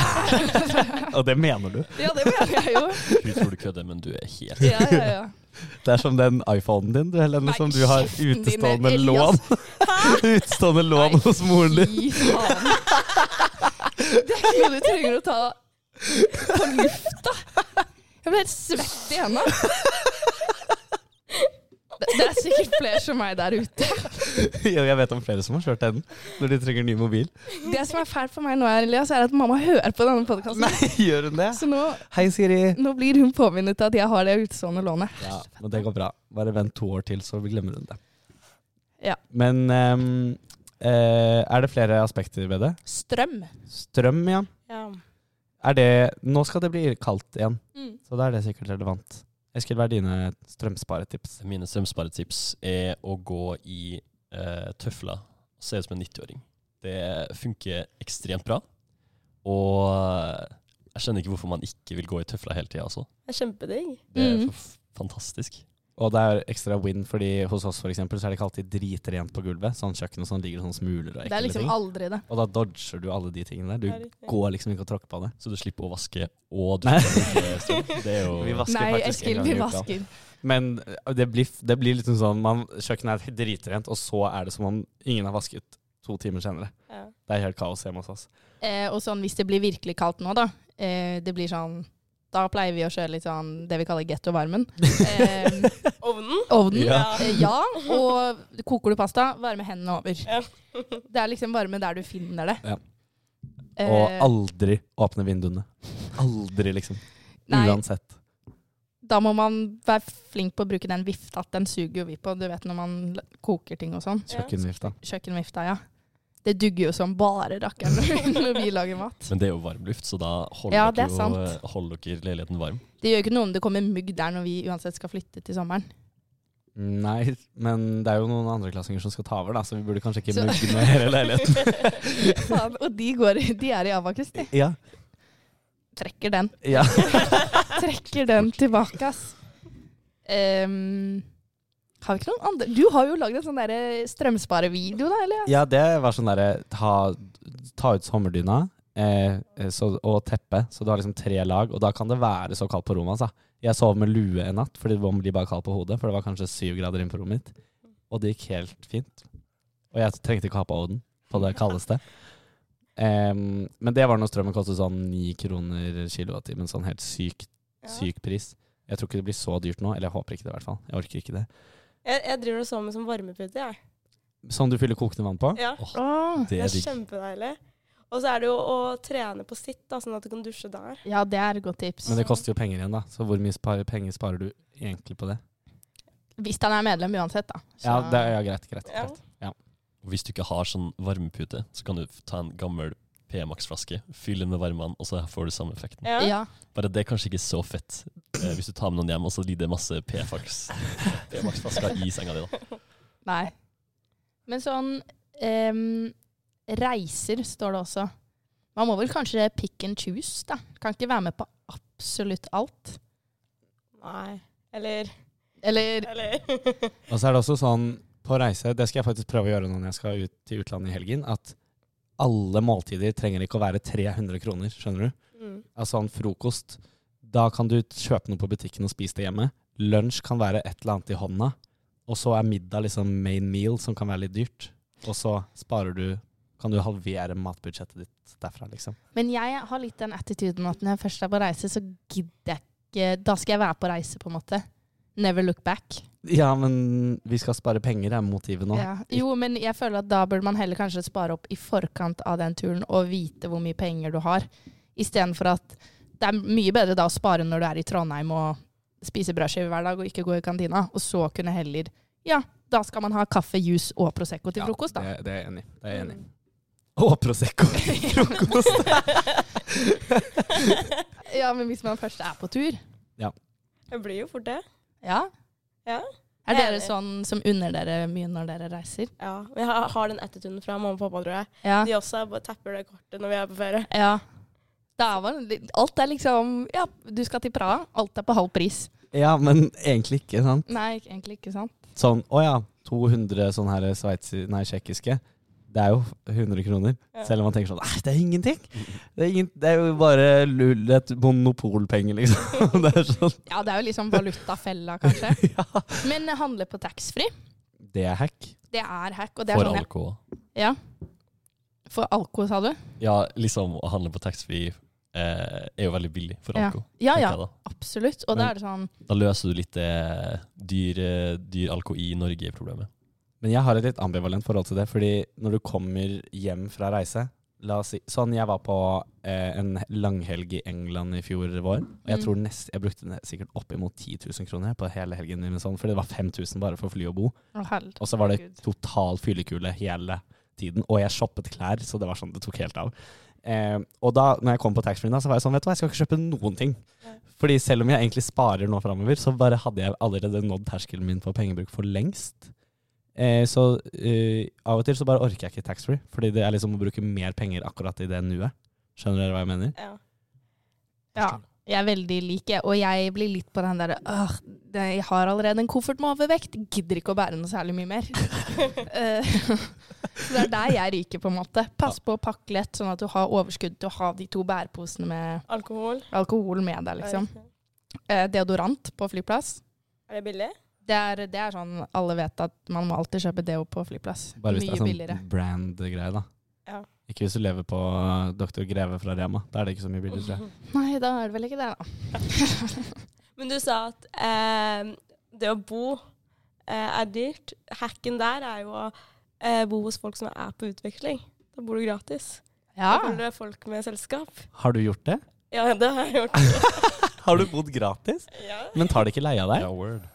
S2: Og det mener du.
S1: ja, det mener jeg jo.
S4: Hun tror du kødder, men du er helt
S1: Ja, ja, ja.
S2: Det er som den iPhonen din, du, Helene,
S1: Nei,
S2: som du har
S1: kjeften din,
S2: utestående
S1: Elias.
S2: lån. utestående lån
S1: Nei,
S2: hos moren din.
S1: Fy faen. Det er ikke noe du trenger å ta på lufta. Jeg ble helt svett i hendene. Det, det er sikkert flere som meg der ute.
S2: Jo, jeg vet om flere som har kjørt den når de trenger ny mobil.
S1: Det som er fælt for meg nå, Elias, er at mamma hører på denne podkasten.
S2: Gjør hun det?
S1: Så nå,
S2: Hei, Siri.
S1: nå blir hun påminnet at jeg har det utestående lånet.
S2: Ja, men det går bra. Bare vent to år til, så glemmer hun det.
S1: Ja.
S2: Men ehm, eh, er det flere aspekter ved det?
S1: Strøm.
S2: Strøm, ja.
S3: Ja.
S2: Er det, nå skal det bli kaldt igjen,
S3: Mm.
S2: så da er det sikkert relevant. Eskil, hva er dine strømsparetips?
S4: Mine strømsparetips er å gå i eh, tøfler og se ut som en 90-åring. Det funker ekstremt bra. Og eh, jeg skjønner ikke hvorfor man ikke vil gå i tøfler hele tida. Altså.
S3: Det er kjempedigg.
S4: Det er
S1: Mhm.
S4: f- fantastisk.
S2: Og det er ekstra win, fordi hos oss for eksempel, så er det ikke alltid dritrent på gulvet. Sånn kjøkken og sånn ligger det sånn smuler og
S1: Det er
S2: ekle
S1: liksom
S2: ting.
S1: aldri det.
S2: Og da dodger du alle de tingene
S3: Det er
S2: der.
S3: litt-
S2: Du går liksom ikke og tråkker på det.
S4: Så du slipper å vaske og du
S2: Nei.
S4: slipper å stå. Det er
S2: Vi
S4: jo
S2: vasker
S1: Nei,
S2: faktisk en
S1: Eskil,
S2: gang
S1: vi
S2: i uka.
S1: vasker.
S2: Men eh, det blir, det blir liksom sånn man, Kjøkkenet er dritrent, og så er det som om ingen har vasket to timer senere.
S3: Ja.
S2: Det er helt kaos hjemme hos oss.
S1: Eh, og sånn, hvis det blir virkelig kaldt nå, da. Eh, det blir sånn Da pleier vi å kjøre litt sånn det vi kaller gettovarmen. Eh,
S3: Ovnen?
S1: ovnen. Ja.
S2: Ja.
S1: Eh, ja, og koker du pasta, varme hendene over.
S3: Ja.
S1: Det er liksom varme der du finner det.
S2: Ja.
S1: Eh,
S2: Og aldri åpne vinduene. Aldri, liksom.
S1: Nei.
S2: Uansett.
S1: da må man være flink på å bruke den vifta. Den suger jo vi på, du vet når man l- koker ting og sånn.
S2: Kjøkkenvifta.
S1: Kjøkkenvifta, ja. Det dugger jo som bare rakkeren når- når vi lager mat.
S4: Men det er jo varm luft, så da holder,
S1: Ja, det er
S4: dere, jo, eh, holder dere leiligheten varm.
S1: Det gjør ikke noe om det kommer mugg der når vi uansett skal flytte til sommeren.
S2: Nei, men det er jo noen andreklassinger som skal ta over, da, så vi burde kanskje ikke
S1: Så-
S2: mugne hele leiligheten.
S1: Faen, og de, går, i- de er i Abakus, de.
S2: Ja.
S1: Trekker den.
S2: ja.
S1: Trekker den tilbake, ass. Ehm, har vi ikke noen andre Du har jo lagd en sånn derre strømsparevideo, da, eller?
S2: ja, det var sånn derre ta, ta ut sommerdyna eh, så, og teppet, så du har liksom tre lag, og da kan det være så kaldt på rommet. Altså. Jeg sov med lue en natt, fordi det blir bare kaldt på hodet, for det var kanskje syv grader inne på rommet mitt. Og det gikk helt fint. Og jeg trengte ikke ha på ovnen på det kaldeste. Em, men det var når strømmen kostet sånn ni kroner kilowattimen, sånn helt syk,
S3: Ja.
S2: syk pris. Jeg tror ikke det blir så dyrt nå, eller jeg håper ikke det i hvert fall. Jeg orker ikke det.
S3: Jeg, jeg driver og sover med som varmepute, jeg.
S2: Som du fyller kokende vann på?
S3: Ja.
S1: Åh,
S4: Det
S3: Det
S4: er
S3: er
S4: digg.
S3: kjempedeilig. Og så er det jo å trene på sitt, da, sånn at du kan dusje der.
S1: Ja, det er et godt tips.
S2: Men det koster jo penger igjen, da. Så hvor mye spar penger sparer du egentlig på det?
S1: Hvis han er medlem uansett, da. Så-
S2: Ja, det er ja, greit. greit,
S3: Ja.
S2: greit.
S4: Og Hvis du ikke har sånn varmepute, så kan du f- ta en gammel P-Max-flaske, fylle den med varmevann, og så får du samme effekten.
S3: Ja.
S1: ja.
S4: Bare det er kanskje ikke så fett eh, hvis du tar med noen hjem, og så ligger det masse P-fax. P-Max-flasker i senga di, da.
S1: Nei. Men sånn em, Reiser står det også. Man må vel kanskje pick and choose, da. Kan ikke være med på absolutt alt.
S3: Nei. Eller,
S1: Eller
S3: eller.
S2: Og så er det også sånn på reise, det skal jeg faktisk prøve å gjøre nå når jeg skal ut til utlandet i helgen, at alle måltider trenger ikke å være 300 kroner, skjønner du?
S3: Mm.
S2: Altså en frokost, da kan du kjøpe noe på butikken og spise det hjemme. Lunsj kan være et eller annet i hånda, og så er middag liksom main meal, som kan være litt dyrt. Og så sparer du, kan du halvere matbudsjettet ditt derfra, liksom.
S1: Men jeg har litt den attituden at når jeg først er på reise, så gidder jeg ikke Da skal jeg være på reise, på en måte. Never look back.
S2: Ja, men vi skal spare penger, er motivet nå.
S1: Ja. Jo, men jeg føler at da burde man heller kanskje spare opp i forkant av den turen og vite hvor mye penger du har, istedenfor at det er mye bedre da å spare når du er i Trondheim og spise brødskive hver dag og ikke gå i kantina, og så kunne heller Ja, da skal man ha kaffe, juice og Prosecco til frokost, da. Mm.
S2: Ja, det, det er jeg enig i. Det er jeg enig i. Og Prosecco til frokost!
S1: Ja, men hvis man først er på tur
S3: Det blir jo fort det.
S1: Ja.
S3: Ja.
S1: Er dere
S3: Enig.
S1: sånn som unner dere mye når dere reiser?
S3: Ja. Men jeg har- har den attituden fra mamma og pappa, tror jeg.
S1: Ja.
S3: De også bare tapper det kortet når vi er på ferie.
S1: Ja. Da var det litt- alt er liksom Ja, du skal til Praha. Alt er på halv pris.
S2: Ja, men egentlig ikke, sant?
S1: Nei, ikke- egentlig ikke sant.
S2: Sånn, å ja, 200 sånne her sveitsi- nei, tsjekkiske. Det er jo 100 kroner.
S3: Ja.
S2: Selv om man tenker sånn Nei, det er ingenting! Det er, ingen, det er jo bare lull, et monopolpenge, liksom. Det er sånn
S1: Ja, det er jo liksom valutafella, kanskje.
S2: Ja.
S1: Men eh, handle på taxfree,
S2: Det er hack.
S1: det er hack. Og det er
S4: For
S1: sånn jeg,
S4: alkohol.
S1: ja. For alko, sa du?
S4: Ja, liksom å handle på taxfree eh, er jo veldig billig for alkohol.
S1: Ja
S4: tenker
S1: ja,
S4: jeg da.
S1: absolutt. Og da er det sånn
S4: Da løser du litt det dyr, eh, dyr alko i Norge-problemet.
S2: Men jeg har et litt ambivalent forhold til det, fordi når du kommer hjem fra reise La oss si, sånn Jeg var på eh, en langhelg i England i fjor vår. Og jeg
S1: Mm.
S2: tror nest, jeg brukte ne- sikkert oppimot 10 000 kroner på hele helgen. min, Sånn, fordi det var 5000 bare for fly og bo.
S1: Å, herregud.
S2: Og så var det total fyllekule hele tiden. Og jeg shoppet klær, så det var sånn det tok helt av. Eh, og da når jeg kom på taxfree-en, da, så var jeg sånn Vet du hva, jeg skal ikke kjøpe noen ting.
S3: Nei.
S2: Fordi selv om jeg egentlig sparer nå framover, så bare hadde jeg allerede nådd terskelen min for pengebruk for lengst. Eh, så eh, av og til så bare orker jeg ikke taxfree, fordi det er liksom å bruke mer penger akkurat i det nuet. Skjønner dere hva jeg mener?
S3: Ja.
S1: Ja. Jeg er veldig lik, jeg. Og jeg blir litt på den derre Åh, det- jeg har allerede en koffert med overvekt. Gidder ikke å bære noe særlig mye mer. Eh, Så det er der jeg ryker, på en måte. Pass på å pakke lett, sånn at du har overskudd til å ha de to bæreposene med
S3: Alkohol.
S1: alkohol med deg, liksom. Eh, Deodorant på flyplass.
S3: Er det billig?
S1: Det er, det er sånn alle vet at man må alltid kjøpe deo på flyplass.
S2: Bare hvis
S1: Mye
S2: det er
S1: billigere.
S2: sånn brand-greie, da.
S3: Ja.
S2: Ikke hvis du lever på Dr. Greve fra Rema. Da er det ikke så mye billigere. tror jeg.
S1: Nei, da er det vel ikke det, da.
S3: Men du sa at eh, det å bo eh, er dyrt. Hacken der er jo å eh, bo hos folk som er på utveksling. Da bor du gratis.
S1: Ja.
S3: Da bor det folk med selskap.
S2: Har du gjort det?
S3: Ja, det har jeg gjort.
S2: Har du bodd gratis?
S3: Ja.
S2: Men tar de ikke leie av deg?
S4: Ja, word.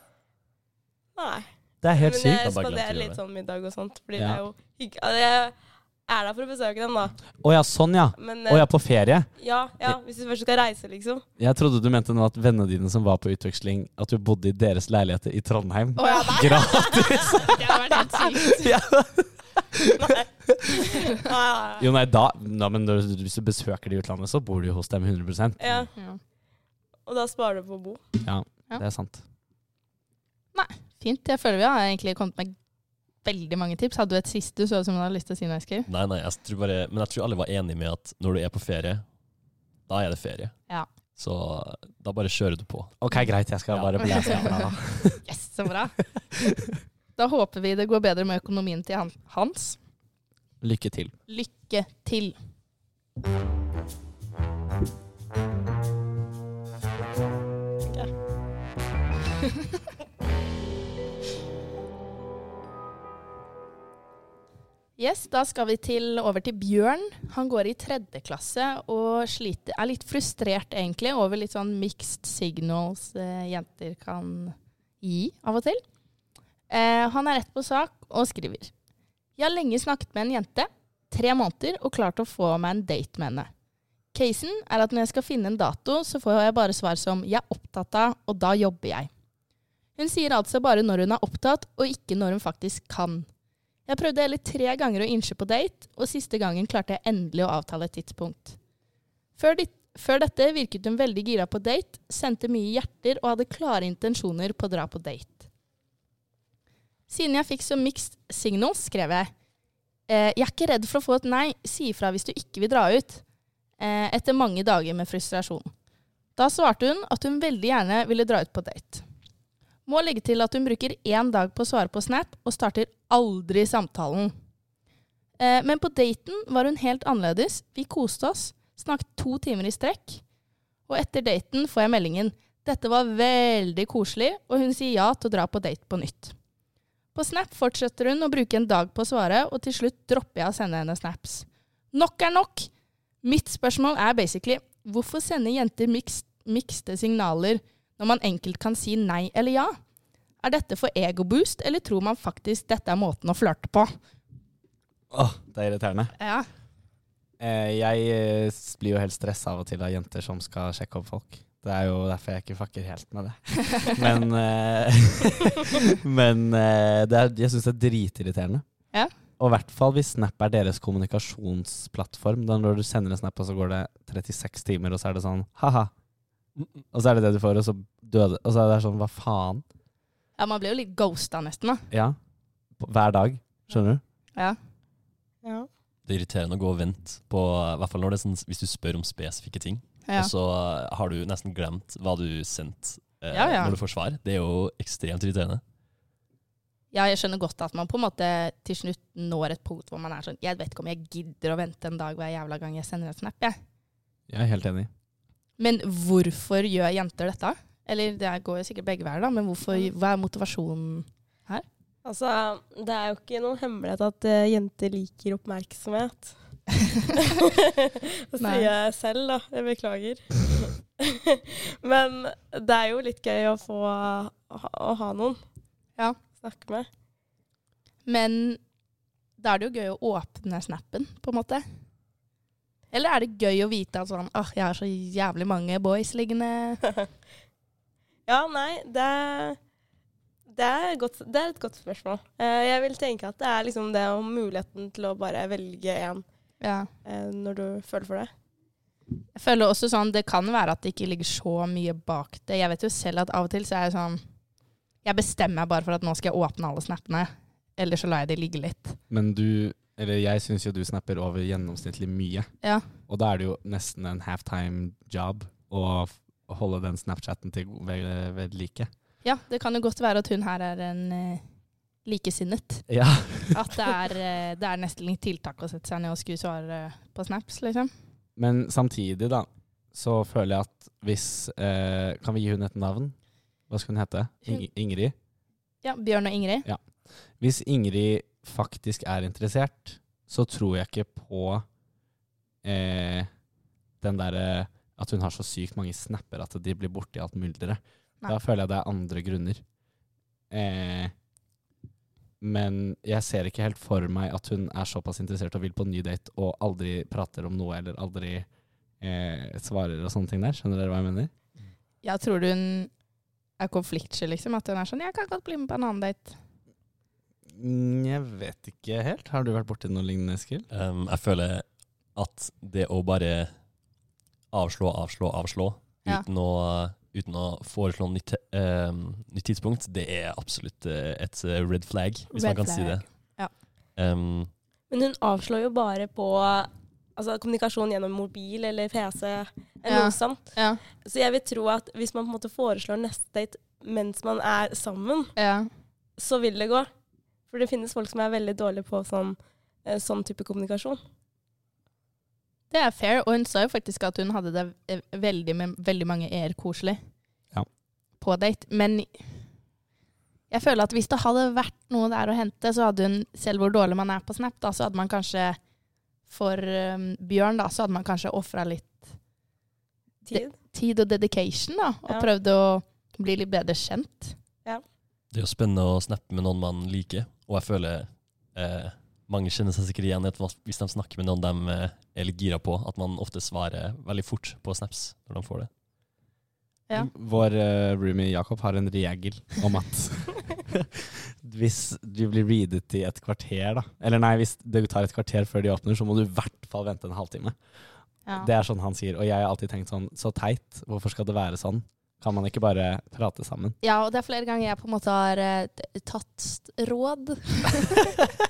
S3: Nei.
S2: Det er helt
S3: Men
S2: sykt.
S4: Da
S3: jeg
S4: bare glemte
S3: spanderer
S4: vi
S3: litt
S4: det.
S3: sånn middag og sånt, fordi
S2: Ja.
S3: det er jo hygg... Altså, jeg er der for å besøke dem, da.
S2: Å ja, sånn ja.
S3: Men
S2: Å
S3: eh,
S2: ja, på ferie.
S3: ja, ja, hvis du først skal reise, liksom.
S2: Jeg trodde du mente nå at vennene dine som var på utveksling, at du bodde i deres leiligheter i Trondheim.
S1: Å ja, nei,
S2: Gratis!
S1: det hadde vært helt sykt.
S2: Ja.
S3: Nei. Nei, nei, nei.
S2: Jo, nei, da Nei, men når du- Hvis du besøker de i utlandet, så bor du jo hos dem 100
S3: Ja,
S1: Ja.
S3: og da sparer du på å bo.
S1: Ja.
S2: Det er sant.
S1: Fint. Jeg føler vi har egentlig kommet med veldig mange tips. Hadde du et siste du så ut som du hadde lyst til å si noe, Eskil?
S4: Nei, nei, jeg tror bare, men jeg tror alle var enige med at når du er på ferie, da er det ferie.
S1: Ja.
S4: Så da bare kjører du på.
S2: Ok, greit. Jeg skal
S4: Ja.
S2: bare blæse av deg, da.
S1: Yes, så bra. Da håper vi det går bedre med økonomien til han- Hans.
S2: Lykke til.
S1: Lykke til. Yes, da skal vi til, over til Bjørn. Han går i tredje klasse og sliter, er litt frustrert egentlig over litt sånn mixed signals eh, jenter kan gi av og til. Eh, han er rett på sak og skriver. Jeg har lenge snakket med en jente, tre måneder, og klart å få meg en date med henne. Casen er at når jeg skal finne en dato, så får jeg bare svar som 'jeg er opptatt av, og da jobber jeg'. Hun sier altså bare når hun er opptatt, og ikke når hun faktisk kan. Jeg prøvde hele tre ganger å innse på date, og siste gangen klarte jeg endelig å avtale et tidspunkt. Før, dit, før dette virket hun veldig gira på date, sendte mye hjerter og hadde klare intensjoner på å dra på date. Siden jeg fikk så mixed signals, skrev jeg eh, Jeg er ikke redd for å få et nei, si ifra hvis du ikke vil dra ut. Eh, etter mange dager med frustrasjon. Da svarte hun at hun veldig gjerne ville dra ut på date. Må legge til at hun bruker én dag på å svare på Snap, og starter aldri samtalen. Eh, men på daten var hun helt annerledes. Vi koste oss, snakket to timer i strekk. Og etter daten får jeg meldingen. Dette var veldig koselig, og hun sier ja til å dra på date på nytt. På Snap fortsetter hun å bruke en dag på å svare, og til slutt dropper jeg å sende henne snaps. Nok er nok! Mitt spørsmål er basically hvorfor sender jenter mixed, mixte signaler når man enkelt kan si nei eller ja? Er dette for egoboost, eller tror man faktisk dette er måten å flørte på?
S2: Åh, det er irriterende.
S1: Ja.
S2: Eh, jeg eh, s- blir jo helt stressa av og til av jenter som skal sjekke opp folk. Det er jo derfor jeg ikke fucker helt med det. Men, eh, men eh, det er, jeg syns det er dritirriterende.
S1: Ja.
S2: Og i hvert fall hvis Snap er deres kommunikasjonsplattform. Da når du sender en snap, og så går det 36 timer, og så er det sånn ha-ha. Og så er det det du får, og så døde Og så er det sånn hva faen?
S1: ja, man blir jo litt ghosta nesten, da.
S2: Ja. På- Hver dag. Skjønner du?
S1: Ja.
S3: Ja.
S4: Det er irriterende å gå og vente på I hvert fall når det er sånn, hvis du spør om spesifikke ting,
S1: Ja.
S4: og så har du nesten glemt hva du sendte eh,
S1: Ja, ja.
S4: når du får svar. Det er jo ekstremt irriterende.
S1: ja, jeg skjønner godt at man på en måte til slutt når et punkt hvor man er sånn Jeg vet ikke om jeg gidder å vente en dag hver jævla gang jeg sender en snap, jeg.
S2: Jeg er helt enig.
S1: Men hvorfor gjør jenter dette? Eller det går jo sikkert begge veier, da, men hvorfor, hva er motivasjonen?
S3: Altså, det er jo ikke noen hemmelighet at eh, jenter liker oppmerksomhet. Det
S1: Nei.
S3: sier jeg selv, da. Jeg beklager. Men det er jo litt gøy å få å ha- å ha noen
S1: Ja.
S3: snakke med.
S1: Men da er det jo gøy å åpne snappen, på en måte. Eller er det gøy å vite at sånn Åh, jeg har så jævlig mange boys liggende.
S3: Ja, nei, det, det, er, godt, det er et godt spørsmål. Eh, Jeg vil tenke at det er liksom det om muligheten til å bare velge en
S1: Ja.
S3: eh, når du føler for det.
S1: Jeg føler også sånn, Det kan være at det ikke ligger så mye bak det. Jeg vet jo selv at av og til så er jeg sånn Jeg bestemmer meg bare for at nå skal jeg åpne alle snappene. Eller så lar jeg de ligge litt.
S2: Men du, eller jeg syns jo du snapper over gjennomsnittlig mye.
S1: Ja.
S2: Og da er det jo nesten en halftime job å f- holde den Snapchatten til go- ved, ved like.
S1: ja, det kan jo godt være at hun her er en eh, likesinnet.
S2: Ja.
S1: At det er, eh, det er nesten litt tiltak å sette seg ned og skulle svare eh, på snaps, liksom.
S2: Men samtidig, da, så føler jeg at hvis eh, Kan vi gi hun et navn? Hva skal hun hete? Ing Ingrid?
S1: Ja, Bjørn og Ingrid.
S2: Hvis Ingrid faktisk er interessert, så tror jeg ikke på eh, den derre at hun har så sykt mange snapper at de blir borti alt mylderet.
S1: Nei.
S2: Da føler jeg det er andre grunner. Eh, men jeg ser ikke helt for meg at hun er såpass interessert og vil på en ny date og aldri prater om noe eller aldri eh, svarer og sånne ting der. Skjønner dere hva jeg mener?
S1: Jeg tror hun er konfliktsky, liksom. At hun er sånn 'Jeg kan godt bli med på en annen date'.
S2: Jeg vet ikke helt. Har du vært borti noe lignende, Eskil?
S4: Um, jeg føler at det å bare avslå, avslå, avslå
S1: Ja.
S4: uten, å, uten å foreslå nytt, te- um, nytt tidspunkt, det er absolutt eh, et eh, red flag, hvis
S1: Red
S4: man kan si det.
S1: flag, ja.
S4: Um,
S3: Men hun avslår jo bare på altså, kommunikasjon gjennom mobil eller PC eller
S1: Ja.
S3: noe sånt.
S1: Ja.
S3: Så jeg vil tro at hvis man på en måte foreslår neste date mens man er sammen,
S1: ja.
S3: så vil det gå. For det finnes folk som er veldig dårlige på sånn, eh, sånn type kommunikasjon.
S1: Det er fair, og hun sa jo faktisk at hun hadde det eh, veldig med veldig mange er koselig
S2: Ja.
S1: på date. Men jeg Jeg føler at hvis det hadde vært noe der å hente, så hadde hun, selv hvor dårlig man er på Snap, da, så hadde man kanskje For eh, Bjørn, da, så hadde man kanskje ofra litt
S3: Tid.
S1: tid og dedication, da, og
S3: Ja.
S1: prøvd å bli litt bedre kjent.
S4: Det er jo spennende å snappe med noen man liker, og jeg føler eh, mange kjenner seg sikkert igjen i at hva- hvis de snakker med noen de eh, er litt gira på, at man ofte svarer veldig fort på snaps når de får det.
S1: Ja.
S2: Vår eh, roomie Jakob har en regel om at hvis du blir readet i et kvarter, da Eller nei, hvis det tar et kvarter før de åpner, så må du i hvert fall vente en halvtime.
S1: Ja.
S2: Det er sånn han sier, og jeg har alltid tenkt sånn Så teit, hvorfor skal det være sånn? Kan man ikke bare prate sammen?
S1: ja, og det er flere ganger jeg på en måte har eh, t- tatt st- råd.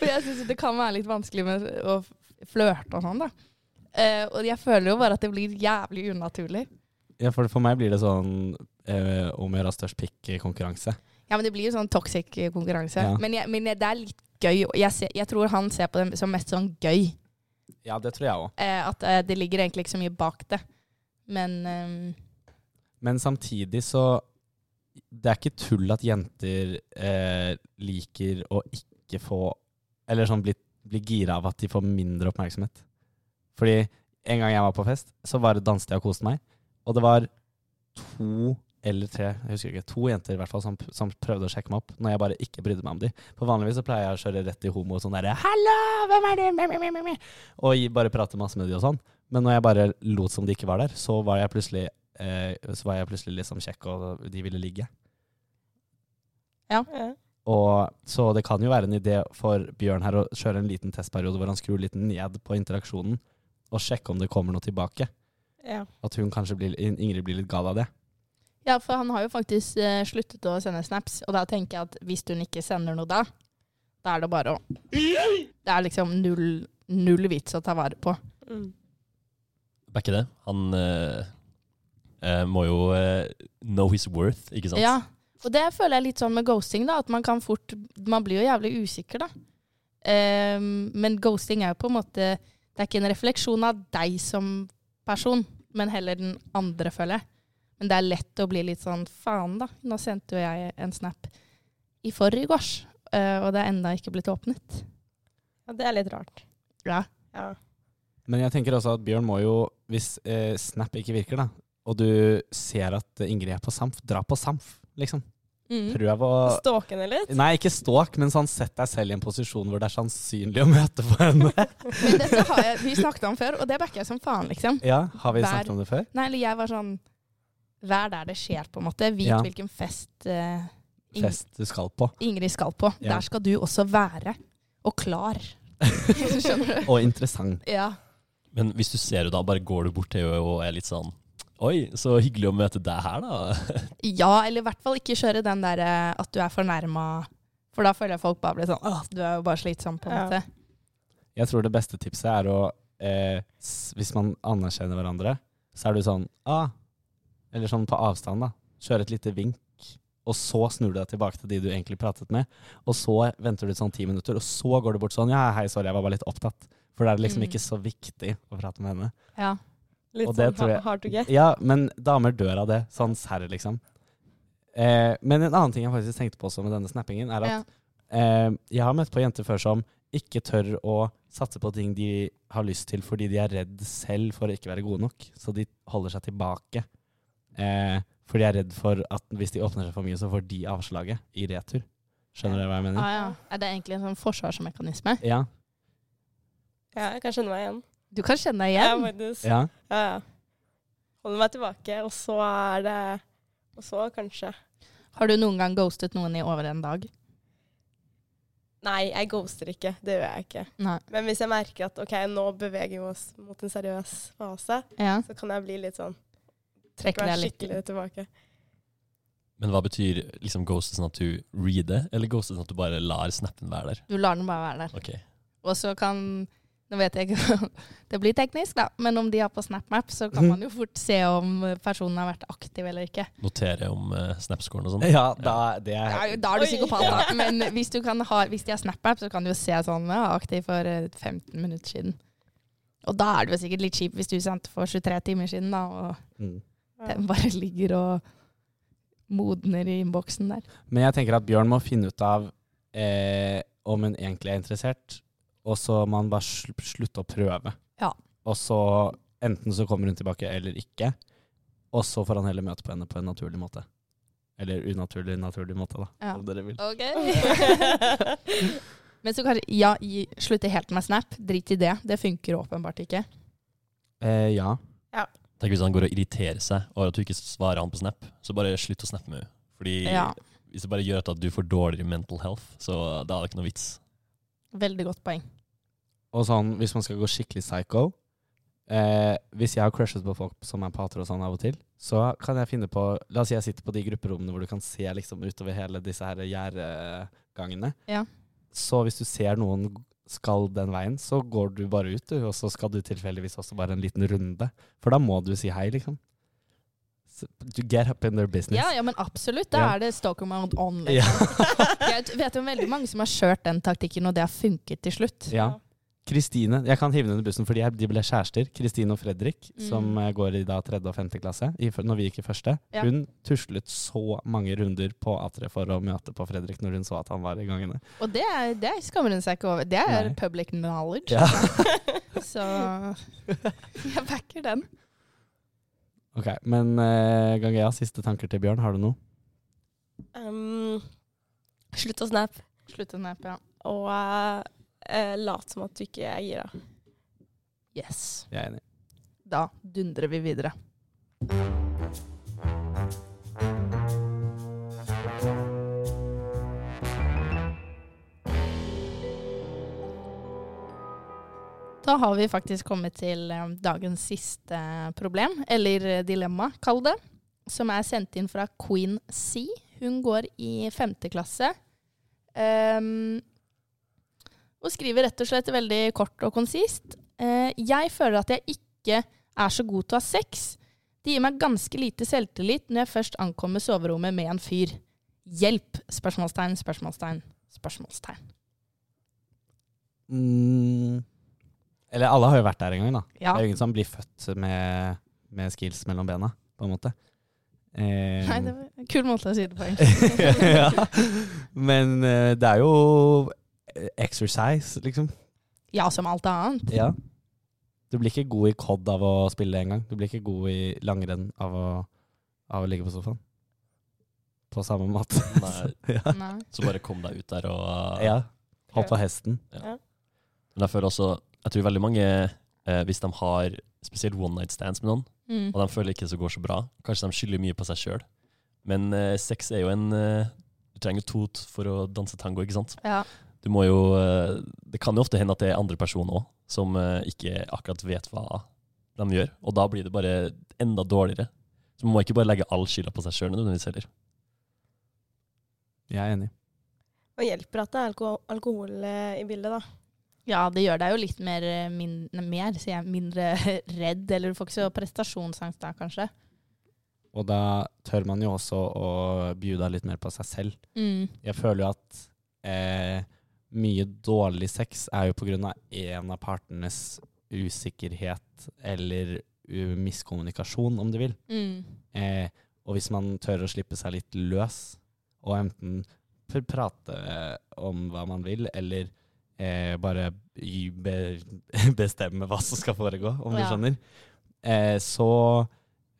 S1: For jeg syns det kan være litt vanskelig med å f- flørte og sånn, da. Eh, og jeg føler jo bare at det blir jævlig unaturlig.
S2: Ja, for, for meg blir det sånn eh, om å gjøre størst pikk-konkurranse.
S1: Ja, men det blir jo sånn toxic eh, konkurranse.
S2: Ja.
S1: Men, jeg, men jeg, det er litt gøy. og Jeg, ser, jeg tror han ser på det som mest sånn gøy.
S2: Ja, det tror jeg òg.
S1: Eh, at eh, det ligger egentlig ikke så mye bak det. Men ehm,
S2: Men samtidig så Det er ikke tull at jenter eh, liker å ikke få Eller sånn bli, bli gira av at de får mindre oppmerksomhet. Fordi en gang jeg var på fest, så bare danset jeg og koste meg. Og det var to eller tre jeg husker ikke, to jenter i hvert fall som, som prøvde å sjekke meg opp når jeg bare ikke brydde meg om de. For vanligvis så pleier jeg å kjøre rett i homo og sånn derre 'Hallo, hvem er du?' Meh, meh, meh, meh, meh. Og gi- bare prate masse med de og sånn. Men når jeg bare lot som de ikke var der, så var jeg plutselig eh, så var jeg plutselig liksom kjekk, og de ville ligge.
S3: Ja.
S2: Og, så det kan jo være en idé for Bjørn her å kjøre en liten testperiode hvor han skrur litt ned på interaksjonen, og sjekke om det kommer noe tilbake.
S3: Ja.
S2: At hun kanskje blir, Ingrid blir litt gal av det.
S1: ja, for han har jo faktisk eh, sluttet å sende snaps. Og da tenker jeg at hvis hun ikke sender noe da, da er det bare å Det er liksom null, null vits å ta vare på.
S3: Mm.
S4: Backer det. Han eh, eh, må jo eh, know his worth, ikke sant?
S1: Ja. Og det føler jeg litt sånn med ghosting, da, at man kan fort Man blir jo jævlig usikker, da. Ehm, men ghosting er jo på en måte Det er ikke en refleksjon av deg som person, men heller den andre, føler jeg. Men det er lett å bli litt sånn Faen, da. Nå sendte jo jeg en snap i forgårs, eh, og det er enda ikke blitt åpnet.
S3: ja, det er litt rart.
S1: Ja.
S3: Ja.
S2: Men jeg tenker også at Bjørn må jo, hvis eh, Snap ikke virker, da, og du ser at Ingrid er på Samf, dra på Samf, liksom.
S1: Mm.
S2: Prøv å
S3: Stalke henne litt.
S2: Nei, ikke stalk, men sånn sett deg selv i en posisjon hvor det er sannsynlig å møte på henne.
S1: Men dette har jeg, vi snakket om før, og det backer jeg som faen, liksom.
S2: Ja, Har vi
S1: Vær-
S2: snakket om det før?
S1: Nei, eller jeg var sånn Vær der det skjer, på en måte. Vit
S2: Ja.
S1: hvilken fest eh, Ing-
S2: Fest du skal på.
S1: Ingrid skal på.
S2: Ja.
S1: Der skal du også være. Og klar. Skjønner du?
S2: Og interessant.
S1: Ja.
S4: Men hvis du ser henne da, bare går du bort til henne og er litt sånn Oi, så hyggelig å møte deg her, da.
S1: ja, eller i hvert fall ikke kjøre den derre at du er fornærma. For da føler jeg folk bare blir sånn Åh, du er jo bare slitsom, på en
S3: Ja.
S1: måte.
S2: Jeg tror det beste tipset er å eh, s- Hvis man anerkjenner hverandre, så er du sånn ah, Eller sånn på avstand, da. Kjøre et lite vink. Og så snur du deg tilbake til de du egentlig pratet med. Og så venter du sånn ti minutter, og så går du bort sånn Ja, hei, sorry, jeg var bare litt opptatt. For da er det liksom
S1: Mm.
S2: ikke så viktig å prate med henne.
S1: Ja.
S3: Litt
S2: Og det
S3: sånn
S2: tror jeg-
S3: ha- hard to get.
S2: Ja, men damer dør av det. Sånn serr, liksom. Eh, men en annen ting jeg faktisk tenkte på også med denne snappingen, er at
S1: ja.
S2: Eh, jeg har møtt på jenter før som ikke tør å satse på ting de har lyst til fordi de er redd selv for å ikke være gode nok. Så de holder seg tilbake. Eh, for de er redd for at hvis de åpner seg for mye, så får de avslaget i retur. Skjønner dere hva jeg
S1: Ah,
S2: mener?
S1: ja. Er det egentlig en sånn forsvarsmekanisme?
S2: Ja.
S3: Ja, jeg kan kjenne meg igjen.
S1: Du kan kjenne deg
S3: Ja,
S1: igjen.
S3: faktisk.
S2: ja.
S3: Ja, ja. Holder meg tilbake, og så er det Og så kanskje
S1: Har du noen gang ghostet noen i over en dag?
S3: Nei, jeg ghoster ikke. Det gjør jeg ikke.
S1: Nei.
S3: Men hvis jeg merker at ok, nå beveger vi oss mot en seriøs fase,
S1: Ja.
S3: så kan jeg bli litt sånn
S1: Trekker
S3: Vær
S1: deg litt
S3: skikkelig tilbake.
S4: Men hva betyr liksom ghostet sånn at du reader, eller ghostet sånn at du bare lar snappen være der?
S1: Du lar den bare være der.
S4: Ok.
S1: Og så kan Nå vet jeg ikke Det blir teknisk, da. Men om de har på SnapMap, så kan man jo fort se om personen har vært aktiv eller ikke.
S4: Notere om eh, snapscoren og sånn.
S2: ja da, det er
S1: Ja, da er du
S3: Oi.
S1: psykopat, da. Men hvis, du kan ha, hvis de har SnapMap, så kan du jo se sånn ja, aktiv for eh, 15 minutter siden. Og da er det jo sikkert litt kjipt hvis du sendte for 23 timer siden, da, og
S2: mm.
S1: den bare ligger og modner i innboksen der.
S2: Men jeg tenker at Bjørn må finne ut av eh, om hun egentlig er interessert, og så må han bare sl slutte å prøve.
S1: Ja.
S2: Og så enten så kommer hun tilbake eller ikke, og så får han heller møte på henne på en naturlig måte. Eller unaturlig, naturlig måte, da,
S1: Ja.
S2: om dere vil.
S1: Ok. Men så kanskje ja, gi- slutte helt med Snap. Drit i det. Det funker åpenbart ikke.
S2: Eh, ja.
S4: Tenk hvis han går og irriterer seg over at du ikke svarer han på Snap, så bare slutt å snappe med henne. Fordi
S1: Ja,
S4: hvis det bare gjør at du får dårligere mental health, så da er det ikke noe vits.
S1: Veldig godt poeng.
S2: Og sånn, hvis man skal gå skikkelig psycho eh, Hvis jeg har crushet på folk som er pater og sånn av og til, så kan jeg finne på La oss si jeg sitter på de grupperommene hvor du kan se liksom utover hele disse her gjerdegangene.
S1: Ja.
S2: Så hvis du ser noen skal den veien, så går du bare ut, du, og så skal du tilfeldigvis også bare en liten runde. For da må du si hei, liksom. Så, to get up in their business.
S1: Ja, ja, men absolutt. Da
S2: Ja.
S1: er det stalker mode on. Liksom.
S2: Ja.
S1: Jeg t- vet om veldig mange som har kjørt den taktikken, og det har funket til slutt.
S2: Ja. Kristine, Jeg kan hive henne under bussen, for de er- de ble kjærester. Kristine og Fredrik,
S1: Mm.
S2: som eh, går i da tredje og femte klasse, i, f- når vi gikk i første,
S1: Ja.
S2: hun tuslet så mange runder på A3 for å møte på Fredrik når hun så at han var i gangene.
S1: Og det, er- det skammer hun seg ikke over. Det er
S2: Nei.
S1: public knowledge.
S2: Ja.
S1: Så jeg backer den.
S2: Ok, Men uh, Gangea, siste tanker til Bjørn. Har du noe?
S3: Um, slutt å snappe
S1: Slutt å nappe, ja.
S3: og eh, eh, lat som at du ikke er gira.
S1: Yes.
S2: Jeg er enig.
S1: Da dundrer vi videre. Da har vi faktisk kommet til eh, dagens siste problem, eller eh, dilemma, kall det. Som er sendt inn fra Queen C. Hun går i femte klasse. ehm, og skriver rett og slett veldig kort og konsist. Eh, jeg føler at jeg ikke er så god til å ha sex. Det gir meg ganske lite selvtillit når jeg først ankommer soverommet med en fyr. Hjelp! Spørsmålstegn, spørsmålstegn, spørsmålstegn.
S2: Mm. Eller alle har jo vært der en gang, da.
S1: Ja.
S2: Det er jo ingen som blir født med, med skills mellom bena, på en måte. Eh,
S1: Nei, det var en kul måte å si det på. egentlig.
S2: ja. Men eh, det er jo eh, exercise, liksom.
S1: Ja, som alt annet.
S2: Ja. Du blir ikke god i COD av å spille engang. Du blir ikke god i langrenn av å, av å ligge på sofaen. På samme måte.
S4: Nei,
S2: ja.
S1: Nei.
S4: så bare kom deg ut der og uh,
S2: ja. Hopp på hesten.
S4: Men jeg føler også Jeg tror veldig mange, eh, hvis de har spesielt one night stands med noen,
S1: Mm.
S4: og de føler ikke det går så bra, kanskje de skylder mye på seg sjøl, men eh, sex er jo en eh, Du trenger jo to t- for å danse tango, ikke sant?
S1: Ja.
S4: Du må jo eh, Det kan jo ofte hende at det er andre personer òg som eh, ikke akkurat vet hva de gjør, og da blir det bare enda dårligere. Så man må ikke bare legge all skylda på seg sjøl nødvendigvis heller.
S2: Jeg er enig.
S3: Og hjelper at det er alko alkohol eh, i bildet, da.
S1: ja, det gjør deg jo litt mer, eh, min, nei, mer sier jeg, mindre redd, eller du får ikke så prestasjonsangst da, kanskje.
S2: Og da tør man jo også å bjuda litt mer på seg selv.
S1: Mm.
S2: Jeg føler jo at eh, mye dårlig sex er jo på grunn av en av partenes usikkerhet eller uh, miskommunikasjon, om du vil.
S1: Mm.
S2: Eh, og hvis man tør å slippe seg litt løs, og enten pr- prate eh, om hva man vil, eller eh, bare gi- be bestemme hva som skal foregå, om du
S1: Ja.
S2: skjønner, eh, så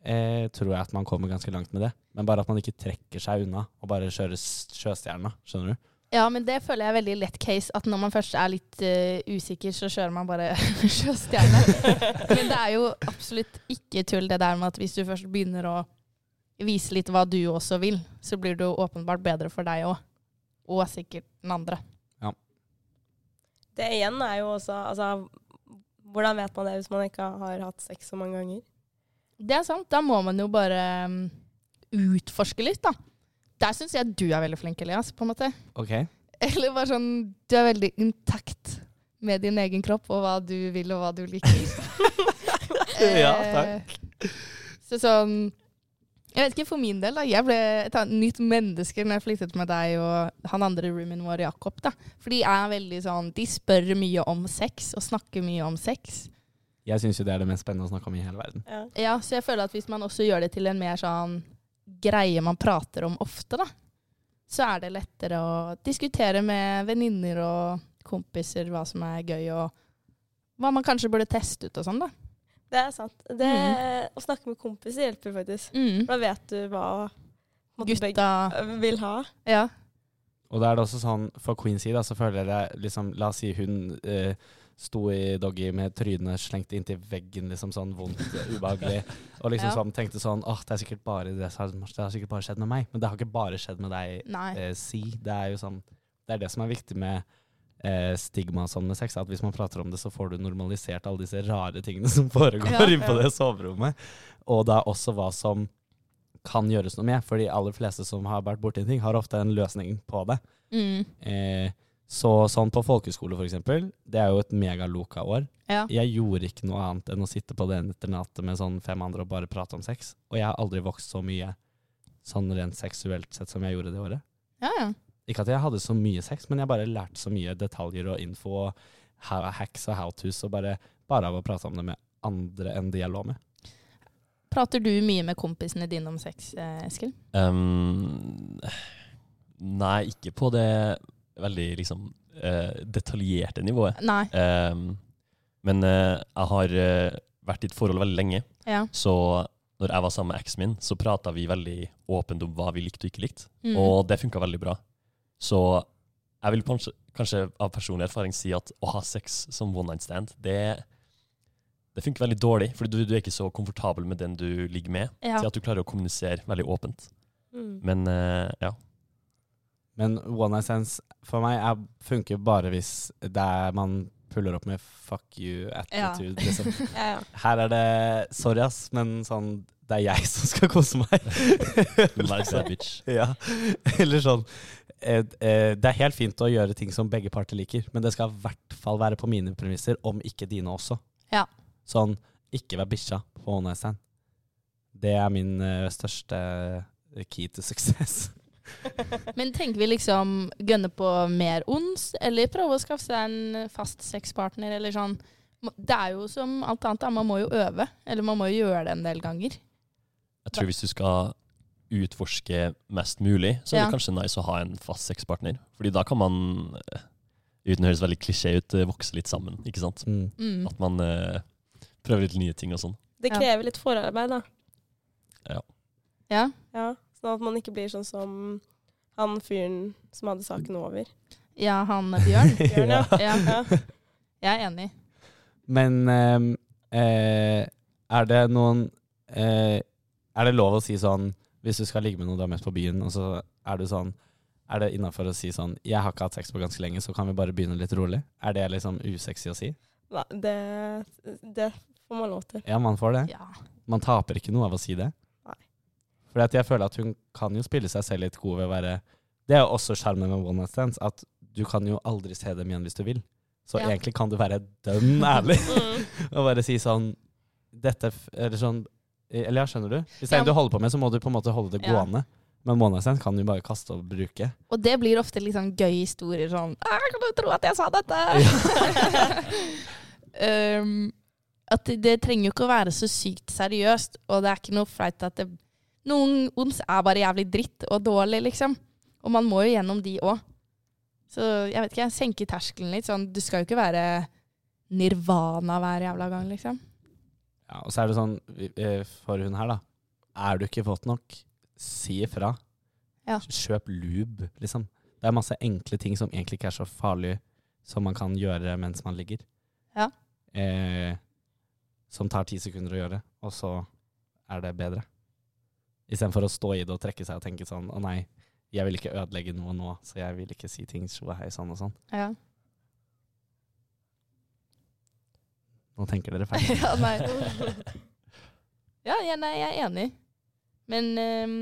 S2: eh, tror jeg at man kommer ganske langt med det. Men bare at man ikke trekker seg unna, og bare kjører s- sjøstjerna, skjønner du?
S1: Ja, men det føler jeg er veldig lett case. At når man først er litt eh, usikker, så kjører man bare sjøstjerne. men det er jo absolutt ikke tull det der med at hvis du først begynner å vise litt hva du også vil, så blir det jo åpenbart bedre for deg òg. Og sikkert den andre.
S3: Det igjen er jo også Altså, hvordan vet man det hvis man ikke har hatt sex så mange ganger?
S1: Det er sant. Da må man jo bare mm, utforske litt, da. Der syns jeg du er veldig flink, Elias, på en måte.
S2: Ok.
S1: Eller bare sånn Du er veldig intakt med din egen kropp og hva du vil og hva du liker.
S2: Ja, takk.
S1: Eh, Så sånn Jeg vet ikke for min del, da. Jeg ble et annet- nytt menneske når jeg flyttet med deg og han andre roomien vår, Jakob. da. For de er veldig sånn De spør mye om sex og snakker mye om sex.
S2: Jeg syns jo det er det mest spennende å snakke om i hele verden.
S3: Ja.
S1: Ja, så jeg føler at hvis man også gjør det til en mer sånn greie man prater om ofte, da, så er det lettere å diskutere med venninner og kompiser hva som er gøy, og hva man kanskje burde teste ut og sånn, da.
S3: Det er sant. Det, Å snakke med kompiser hjelper faktisk.
S1: Mm.
S3: For da vet du hva på en måte,
S1: Gutta
S3: begge vil ha.
S1: Ja.
S2: Og da er det også sånn, for Queens side da, så føler jeg det liksom, La oss si hun eh, sto i doggy med trynet slengt inntil veggen, liksom sånn vondt, eh, ubehagelig. Og liksom
S1: Ja.
S2: sånn, tenkte sånn åh, det er sikkert bare det, som- det har sikkert bare skjedd med meg. Men det har ikke bare skjedd med deg,
S1: Nei.
S2: eh, si. Det er jo sånn, det er det som er viktig med eh, stigma og sånn med sex, at hvis man prater om det, så får du normalisert alle disse rare tingene som foregår
S1: Ja,
S2: inne på
S1: ja.
S2: det soverommet. Og da også hva som kan gjøres noe med, for de aller fleste som har vært borti en ting, har ofte en løsning på det.
S1: Mm.
S2: Eh, så sånn på folkeskole for eksempel, det er jo et megaloka år.
S1: Ja.
S2: Jeg gjorde ikke noe annet enn å sitte på det internatet med sånn fem andre og bare prate om sex. Og jeg har aldri vokst så mye sånn rent seksuelt sett som jeg gjorde det året.
S1: Ja, ja.
S2: Ikke at jeg hadde så mye sex, men jeg bare lærte så mye detaljer og info og ha- hacks og how-tos og bare, bare av å prate om det med andre enn de jeg lå med.
S1: Prater du mye med kompisene dine om sex, eh, Eskil?
S4: Ehm, nei, ikke på det veldig liksom eh, detaljerte nivået.
S1: Nei.
S4: Ehm, men eh, jeg har eh, vært i et forhold veldig lenge,
S1: Ja.
S4: så når jeg var sammen med eksen min, så prata vi veldig åpent om hva vi likte og ikke likte,
S1: Mm.
S4: og det funka veldig bra. Så jeg vil kanskje, kanskje av personlig erfaring si at å ha sex som one night stand, det, det funker veldig dårlig, for du, du er ikke så komfortabel med den du ligger med,
S1: ja.
S4: til at du klarer å kommunisere veldig åpent.
S3: Mm.
S4: Men eh, ja.
S2: Men one night stands for meg er, funker bare hvis det er man puller opp med fuck you attitude. Liksom.
S3: Ja, ja.
S2: Her er det sorry, ass, men sånn det er jeg som skal kose meg.
S4: Vær savage.
S2: ja. Eller sånn eh, eh, Det er helt fint å gjøre ting som begge parter liker, men det skal i hvert fall være på mine premisser, om ikke dine også.
S1: Ja.
S2: Sånn ikke vær bikkja på one night stand. Det er min eh, største eh, key to success.
S1: Men tenker vi liksom gønne på mer ons, eller prøve å skaffe seg en fast sexpartner, eller sånn? Må- Det er jo som alt annet, da. man må jo øve. Eller man må jo gjøre det en del ganger.
S4: Jeg tror hvis du skal utforske mest mulig, så er det
S1: Ja.
S4: kanskje nice å ha en fast sexpartner. Fordi da kan man, eh, uten å høres veldig klisjé ut, eh, vokse litt sammen, ikke sant?
S2: Mm.
S1: Mm.
S4: At man eh, prøver litt nye ting og sånn.
S3: Det
S1: Ja.
S3: krever litt forarbeid, da.
S1: Ja.
S3: Ja. Sånn at man ikke blir sånn som han fyren som hadde saken over.
S1: ja, han Bjørn.
S3: Bjørn, ja.
S1: Ja,
S3: Ja.
S1: jeg er enig.
S2: Men ehm, eh, er det noen eh, Er det lov å si sånn Hvis du skal ligge med noen du har møtt på byen, og så er du sånn Er det innafor å si sånn Jeg har ikke hatt sex på ganske lenge, så kan vi bare begynne litt rolig? Er det liksom usexy å si?
S3: Nei, Det, det får man lov til.
S2: Ja, man får det.
S1: Ja.
S2: Man taper ikke noe av å si det.
S3: Nei.
S2: Fordi at jeg føler at hun kan jo spille seg selv litt god ved å være Det er jo også sjarmen med one night stands, at du kan jo aldri se dem igjen hvis du vil. Så
S1: Ja.
S2: egentlig kan du være dønn ærlig.
S3: Mm.
S2: Og bare si sånn Dette f- Eller sånn Eller ja, skjønner du? Hvis det
S1: Ja.
S2: er en du holder på med, så må du på en måte holde det
S1: Ja.
S2: gående. Men månedstegn kan du bare kaste og bruke.
S1: Og det blir ofte litt sånn gøy historier sånn «Æ, Kan du tro at jeg sa dette? um, at det, det trenger jo ikke å være så sykt seriøst, og det er ikke noe flaut at det, noen ons er bare jævlig dritt og dårlig, liksom. Og man må jo gjennom de òg. Så jeg vet ikke, jeg senker terskelen litt. Sånn, du skal jo ikke være nirvana hver jævla gang, liksom.
S2: Ja, og så er det sånn vi- eh, for hun her, da. Er du ikke våt nok, si ifra.
S1: Ja.
S2: Kjøp lube, liksom. Det er masse enkle ting som egentlig ikke er så farlig som man kan gjøre mens man ligger.
S1: Ja.
S2: Eh, som tar ti sekunder å gjøre, og så er det bedre. Istedenfor å stå i det og trekke seg og tenke sånn Å nei, jeg vil ikke ødelegge noe nå, så jeg vil ikke si ting tjo og hei sånn og sånn.
S1: Ja.
S2: Nå tenker dere feil.
S1: ja, nei. ja, ja, nei, jeg er enig. Men ehm,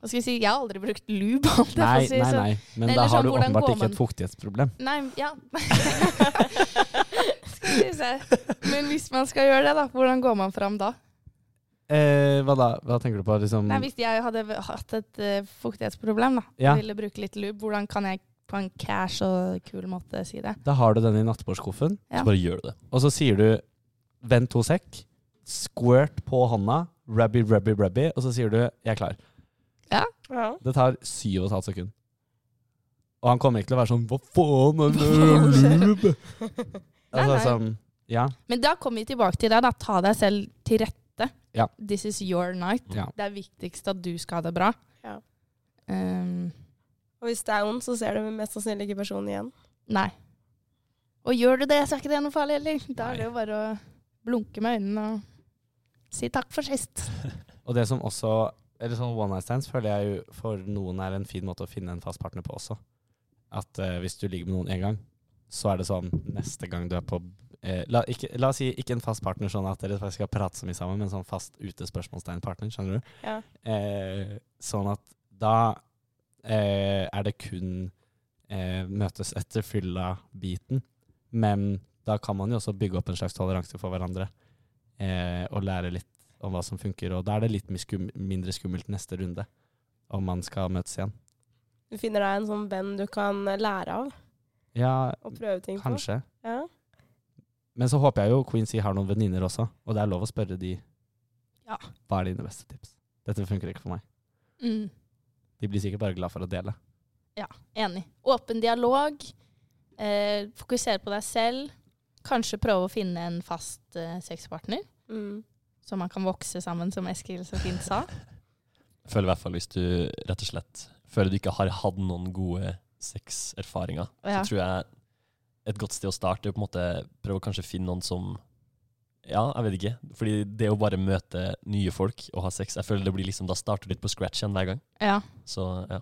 S1: Hva skal jeg si? Jeg har aldri brukt lube. om jeg får
S2: Nei,
S1: si
S2: nei,
S1: sånn.
S2: nei. Men
S1: Nei,
S2: da
S1: eller
S2: har
S1: sånn,
S2: du
S1: hvordan
S2: åpenbart
S1: går
S2: ikke et fuktighetsproblem.
S1: Nei, ja. skal vi se. Men hvis man skal gjøre det, da, hvordan går man fram da?
S2: Eh, hva da? Hva tenker du på? Liksom,
S1: Nei, Hvis jeg hadde v- hatt et eh, fuktighetsproblem da,
S2: Ja.
S1: og ville bruke litt lube, hvordan kan jeg på en cash og kul måte si det?
S2: Da har du den i nattbordskuffen,
S1: Ja.
S4: Så bare gjør du det.
S2: og så sier du 'vent to sek', squirt på hånda, rabbi, rabbi, rabbi, og så sier du 'jeg er klar'.
S3: Ja.
S2: Det tar syv og et halvt sekund. Og han kommer ikke til å være sånn 'hva faen er
S3: Hva faen
S2: det?' du med?"
S1: Nei,
S2: altså
S1: nei.
S2: sånn Ja.
S1: Men da kommer vi tilbake til deg, da. Ta deg selv til rette.
S2: Ja.
S1: This is your night.
S4: Mm.
S2: Ja.
S1: Det er viktigst at du skal ha det bra.
S3: Ja.
S1: Ehm,
S3: Og hvis det er ond, så ser du mest sannsynlig ikke personen igjen.
S1: nei. Og gjør du det, så er ikke det noe farlig heller. Da er det
S2: Nei.
S1: jo bare å blunke med øynene og si takk for sist.
S2: Og det som også Eller sånn one night stands føler jeg jo for noen er en fin måte å finne en fast partner på også. At eh, hvis du ligger med noen én gang, så er det sånn neste gang du er på eh, la, ikke, la oss si ikke en fast partner sånn at dere faktisk skal prate så mye sammen, men sånn fast ute-spørsmålstegn-partner, skjønner du?
S3: Ja.
S2: Eh, sånn at da eh, er det kun eh, møtes etter fylla-biten, men da kan man jo også bygge opp en slags toleranse for hverandre eh, og lære litt om hva som funker. Og da er det litt mi- skum mindre skummelt neste runde, om man skal møtes igjen.
S3: Du finner deg en sånn venn du kan lære av
S2: Ja,
S3: og prøve ting på.
S2: kanskje.
S3: Ja.
S2: Men så håper jeg jo Queen C har noen venninner også, og det er lov å spørre de
S1: Ja.
S2: hva er dine beste tips. Dette funker ikke for meg.
S1: Mm,
S2: De blir sikkert bare glad for å dele.
S1: enig. Åpen dialog. Eh, fokusere på deg selv. Kanskje prøve å finne en fast eh, sexpartner,
S3: Mm.
S1: så man kan vokse sammen, som Eskil så fint sa.
S4: Føler i hvert fall hvis du rett og slett føler du ikke har hatt noen gode sexerfaringer,
S1: Ja.
S4: så tror jeg et godt sted å starte er å på en måte prøve å kanskje finne noen som Ja, jeg vet ikke. Fordi det å bare møte nye folk og ha sex, jeg føler det blir liksom, da starter du litt på scratch igjen hver gang.
S1: Ja.
S4: Så ja.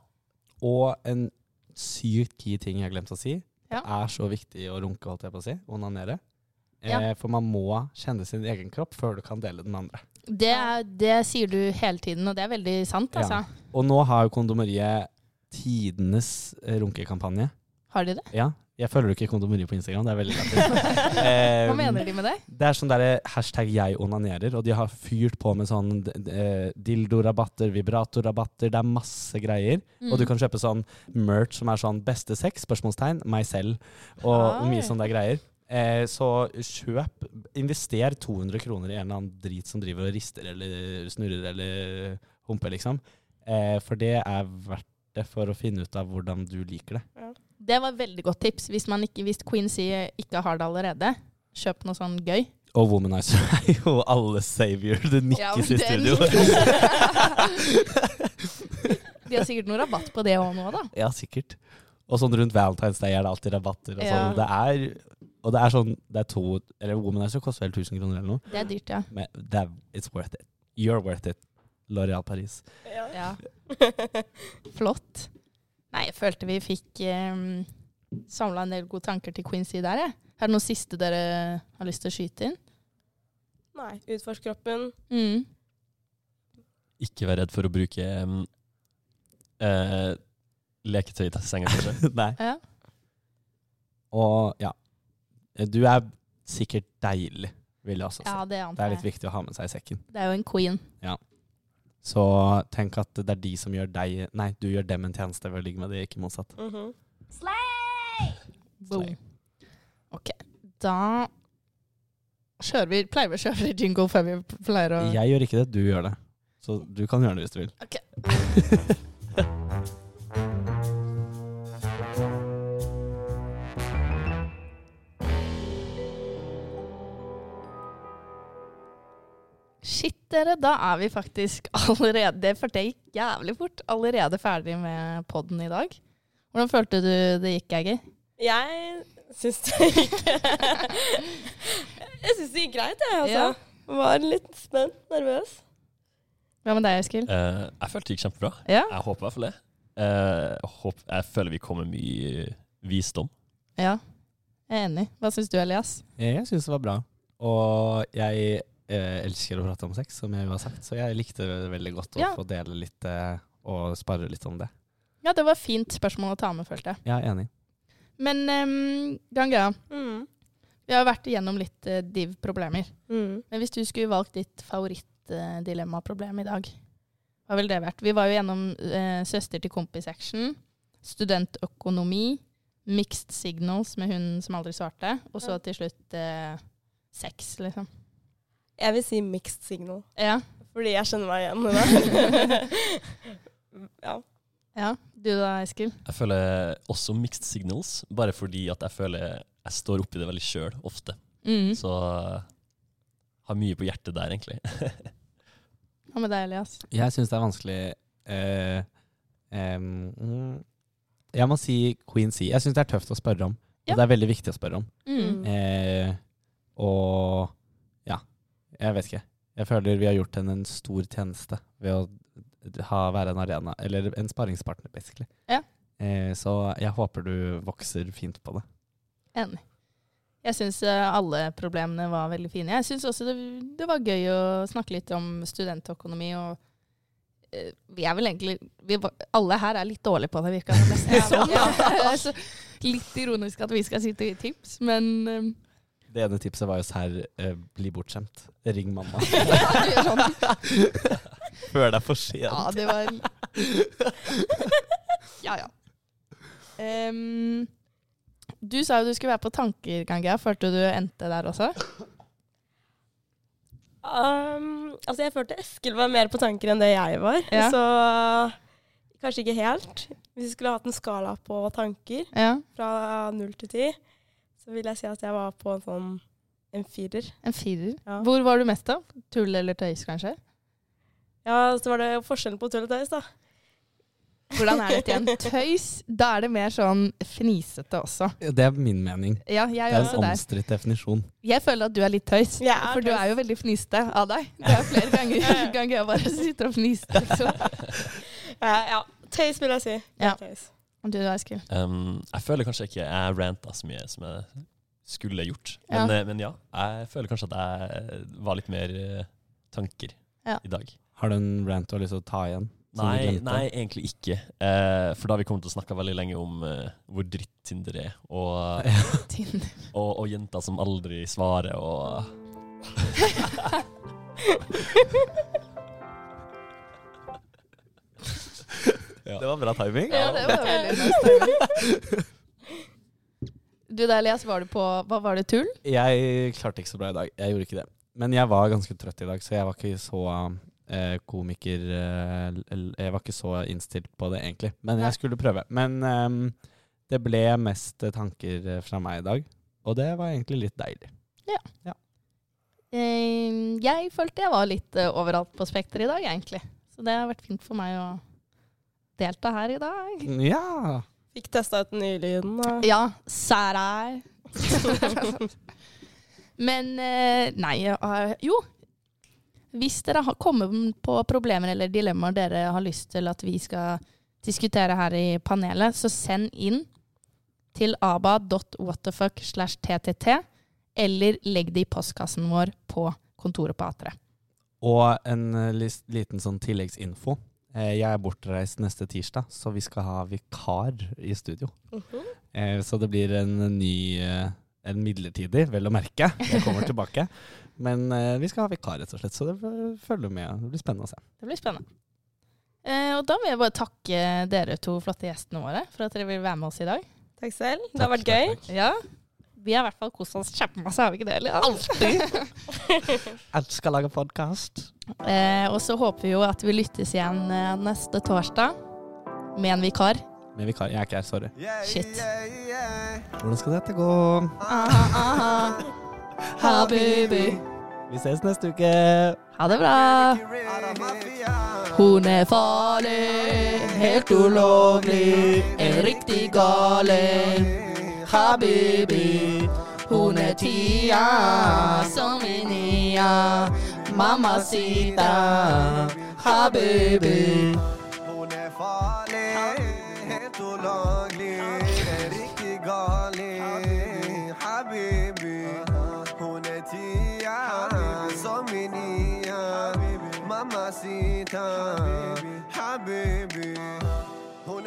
S2: Og en sykt key ting jeg har glemt å si.
S1: Ja.
S2: Det er så viktig å runke, holdt jeg på å si. Onanere.
S1: Ja.
S2: Eh, for man må kjenne sin egen kropp før du kan dele den andre.
S1: Det, er- det sier du hele tiden, og det er veldig sant,
S2: Ja.
S1: altså.
S2: Og nå har jo kondomeriet tidenes eh, runkekampanje.
S1: Har de det?
S2: Ja, jeg følger jo ikke kondomeriet på Instagram, det er veldig lættis. Eh,
S1: Hva mener de med det?
S2: Det er sånn derre hashtag 'jeg onanerer', og de har fyrt på med sånn d- d- eh, dildorabatter, vibratorrabatter, det er masse greier.
S1: Mm.
S2: Og du kan kjøpe sånn merch som er sånn 'beste sex?' spørsmålstegn, meg selv, og
S1: Oi.
S2: mye sånne der greier. Eh, så kjøp, invester 200 kroner i en eller annen drit som driver og rister eller snurrer eller humper, liksom. Eh, for det er verdt det for å finne ut av hvordan du liker det.
S1: Det var et veldig godt tips. Hvis, man ikke, hvis Queen sier ikke har det allerede, kjøp noe sånn gøy.
S2: Og womanizer er jo alle savior. Det nikkes i studio.
S1: De har sikkert noe rabatt på det òg nå, da.
S2: Ja, sikkert. Og sånn rundt Valentine's Day er det alltid rabatter. Og,
S1: Ja.
S2: sånn. det er, og det er sånn Det er to Eller Womanizer koster vel 1000 kroner eller noe.
S1: Det er dyrt, ja.
S2: Men det er, it's worth it. You're worth it. L'Oréal Paris.
S3: Ja.
S1: ja. Flott. Nei, jeg følte vi fikk um, samla en del gode tanker til Queen C der, jeg. Er det noe siste dere har lyst til å skyte inn?
S3: Nei, utforsk kroppen.
S1: Mm.
S4: Ikke vær redd for å bruke um, eh, leketøy i senga, kanskje.
S2: Nei.
S1: Ja.
S2: Og ja. Du er sikkert deilig, vil jeg også si.
S1: ja, det
S2: det er
S1: antar
S2: litt
S1: jeg.
S2: viktig å ha med seg i sekken.
S1: Det er jo en queen.
S2: Så tenk at det er de som gjør deg Nei, du gjør dem en tjeneste ved å ligge med dem, ikke motsatt.
S3: Mhm.
S1: Boom. Ok, da kjører vi, pleier vi å kjøre jingle før vi pleier å
S2: Jeg gjør ikke det, du gjør det. Så du kan gjøre det hvis du vil.
S1: Ok. Shit, dere. Da er vi faktisk allerede Det følte jeg gikk jævlig fort. Allerede ferdig med podden i dag. Hvordan følte du det gikk, Eggy?
S3: Jeg syns det gikk Jeg syns det gikk greit, jeg, altså.
S1: Ja.
S3: Var litt spent, nervøs.
S1: Hva med deg, Eskil?
S4: Eh, jeg følte det gikk kjempebra.
S1: Ja?
S4: Jeg håper i hvert fall det. Eh, jeg håper, jeg føler vi kommer med mye visdom.
S1: Ja. Jeg er enig. Hva syns du, Elias?
S2: Eh, Jeg syns det var bra. Og jeg eh, elsker å prate om sex, som jeg jo har sagt, så jeg likte det veldig godt å
S1: Ja.
S2: få dele litt eh, og sparre litt om det.
S1: Ja, det var fint spørsmål å ta med, følte jeg.
S2: Jeg er enig.
S1: Men um, Ganga,
S3: Mm.
S1: vi har vært igjennom litt eh, div-problemer.
S3: Mm.
S1: Men hvis du skulle valgt ditt favorittdilemmaproblem i dag, hva ville det vært? Vi var jo gjennom eh, søster til kompis-action, studentøkonomi, mixed signals med hun som aldri svarte, og så til slutt eh, sex, liksom.
S3: Jeg vil si mixed signal.
S1: Ja.
S3: Fordi jeg kjenner meg igjen i det. ja.
S1: Ja, du da, Eskil?
S4: Jeg føler også mixed signals, bare fordi at jeg føler jeg står oppi det veldig sjøl ofte.
S1: Mm.
S4: Så eh, har mye på hjertet der, egentlig.
S1: Hva med deg, Elias?
S2: Jeg syns det er vanskelig eh, em, mm, Jeg må si Queen C. Jeg syns det er tøft å spørre om.
S1: Ja.
S2: Og det er veldig viktig å spørre om.
S1: Mm.
S2: Eh, og ja, jeg vet ikke. Jeg føler vi har gjort henne en stor tjeneste ved å ha, være en arena, eller en sparringspartner, basically.
S1: Ja.
S2: Eh, så jeg håper du vokser fint på det.
S1: Enig. Jeg syns eh, alle problemene var veldig fine. Jeg syns også det, det var gøy å snakke litt om studentøkonomi og eh, vi er vel egentlig vi, var- Alle her er litt dårlige på det, virka det nesten sånn. Ja. Så litt ironisk at vi skal sitte i tips, men eh,
S2: Det ene tipset var jo serr eh, bli bortskjemt. Ring mamma
S1: ja, du gjør sånn.
S2: før det er for sent.
S1: Ja, det var Ja, ja. Em, du sa jo du skulle være på tanker, Gangia. Følte du endte der også?
S3: Um, altså, jeg følte Eskil var mer på tanker enn det jeg var.
S1: Ja.
S3: Så kanskje ikke helt. Hvis vi skulle hatt en skala på tanker
S1: Ja.
S3: fra null til ti, så vil jeg si at jeg var på en sånn en firer.
S1: En firer.
S3: Ja.
S1: Hvor var du mest av? Tull eller tøys, kanskje?
S3: Ja, så var det forskjellen på tull og tøys, da.
S1: Hvordan er dette igjen? Tøys, da er det mer sånn fnisete også.
S2: Det er min mening.
S1: Ja, jeg
S2: Det
S1: er
S2: er
S1: jo
S2: en
S1: også der.
S2: omstridt definisjon.
S1: Jeg føler at du er litt tøys,
S3: Jeg er
S1: for du
S3: tøys.
S1: er jo veldig fniste av deg. Det er flere ganger, ganger jeg bare sitter og fniser. liksom.
S3: Eh, ja. Tøys vil jeg si.
S1: Ja.
S3: Tøys.
S1: Du da, Eskil?
S4: Um, jeg føler kanskje ikke jeg ranta så mye som jeg skulle gjort.
S1: Ja.
S4: Men ja, men ja jeg føler kanskje at jeg var litt mer eh, tanker
S1: Ja.
S4: i dag.
S2: Har du en rant du har lyst til å ta igjen? som du
S4: Nei,
S2: glemte?
S4: nei, egentlig ikke. Eh, for da har vi kommet til å snakke veldig lenge om eh, hvor dritt Tinder er, og,
S1: Tinder.
S4: og, og jenter som aldri svarer, og
S2: Det var bra timing.
S1: Ja, det var veldig nice. Du da, Elias, var du på Hva var det, tull?
S2: Jeg klarte ikke så bra i dag. Jeg gjorde ikke det. Men jeg var ganske trøtt i dag, så jeg var ikke så eh, komiker eh, l- Jeg var ikke så innstilt på det, egentlig. Men
S1: Nei.
S2: jeg skulle prøve. Men ehm, det ble mest eh, tanker eh, fra meg i dag, og det var egentlig litt deilig.
S1: Eh, Jeg følte jeg var litt eh, overalt på spekteret i dag, egentlig. Så det har vært fint for meg å delta her i dag.
S2: Ja!
S3: Fikk testa ut den nye lyden. da.
S1: Ja, særær. Men eh, nei, jeg har- jo. Hvis dere har kommet på problemer eller dilemmaer dere har lyst til at vi skal diskutere her i panelet, så send inn til aba.whatthefuck slash ttt, eller legg det i postkassen vår på kontoret på A3.
S2: Og en eh, lis- liten sånn tilleggsinfo. Eh, jeg er bortreist neste tirsdag, så vi skal ha vikar i studio.
S3: Mhm.
S2: Eh, Så det blir en ny eh, En midlertidig, vel å merke. Jeg kommer tilbake. Men eh, vi skal ha vikar, rett og slett, så det f- følger med. Det blir spennende å se.
S1: Det blir spennende. Eh, og da vil jeg bare takke dere to flotte gjestene våre for at dere vil være med oss i dag.
S3: Takk selv. Det har
S2: Takk,
S3: vært gøy.
S2: takk, takk.
S1: Ja. Vi har i hvert fall kost oss kjempemasse, har vi ikke det? Elias?
S2: Jeg skal lage podkast.
S1: Eh, og så håper vi jo at vi lyttes igjen eh, neste torsdag med en vikar.
S2: Med vikar. Jeg er ikke her, sorry.
S1: Shit.
S2: Hvordan skal dette gå?
S1: Aha, aha. Habibi.
S2: Vi ses neste uke.
S1: Ha det bra. Hun er farlig, helt ulovlig, en riktig gale. Habibi. Hun er tia, som i nia. Mamacita, habibi.
S5: Hun er farlig, helt ulaglig, er riktig gali. Habibi, hun er tia, som i nia. Mamacita, habibi. Hun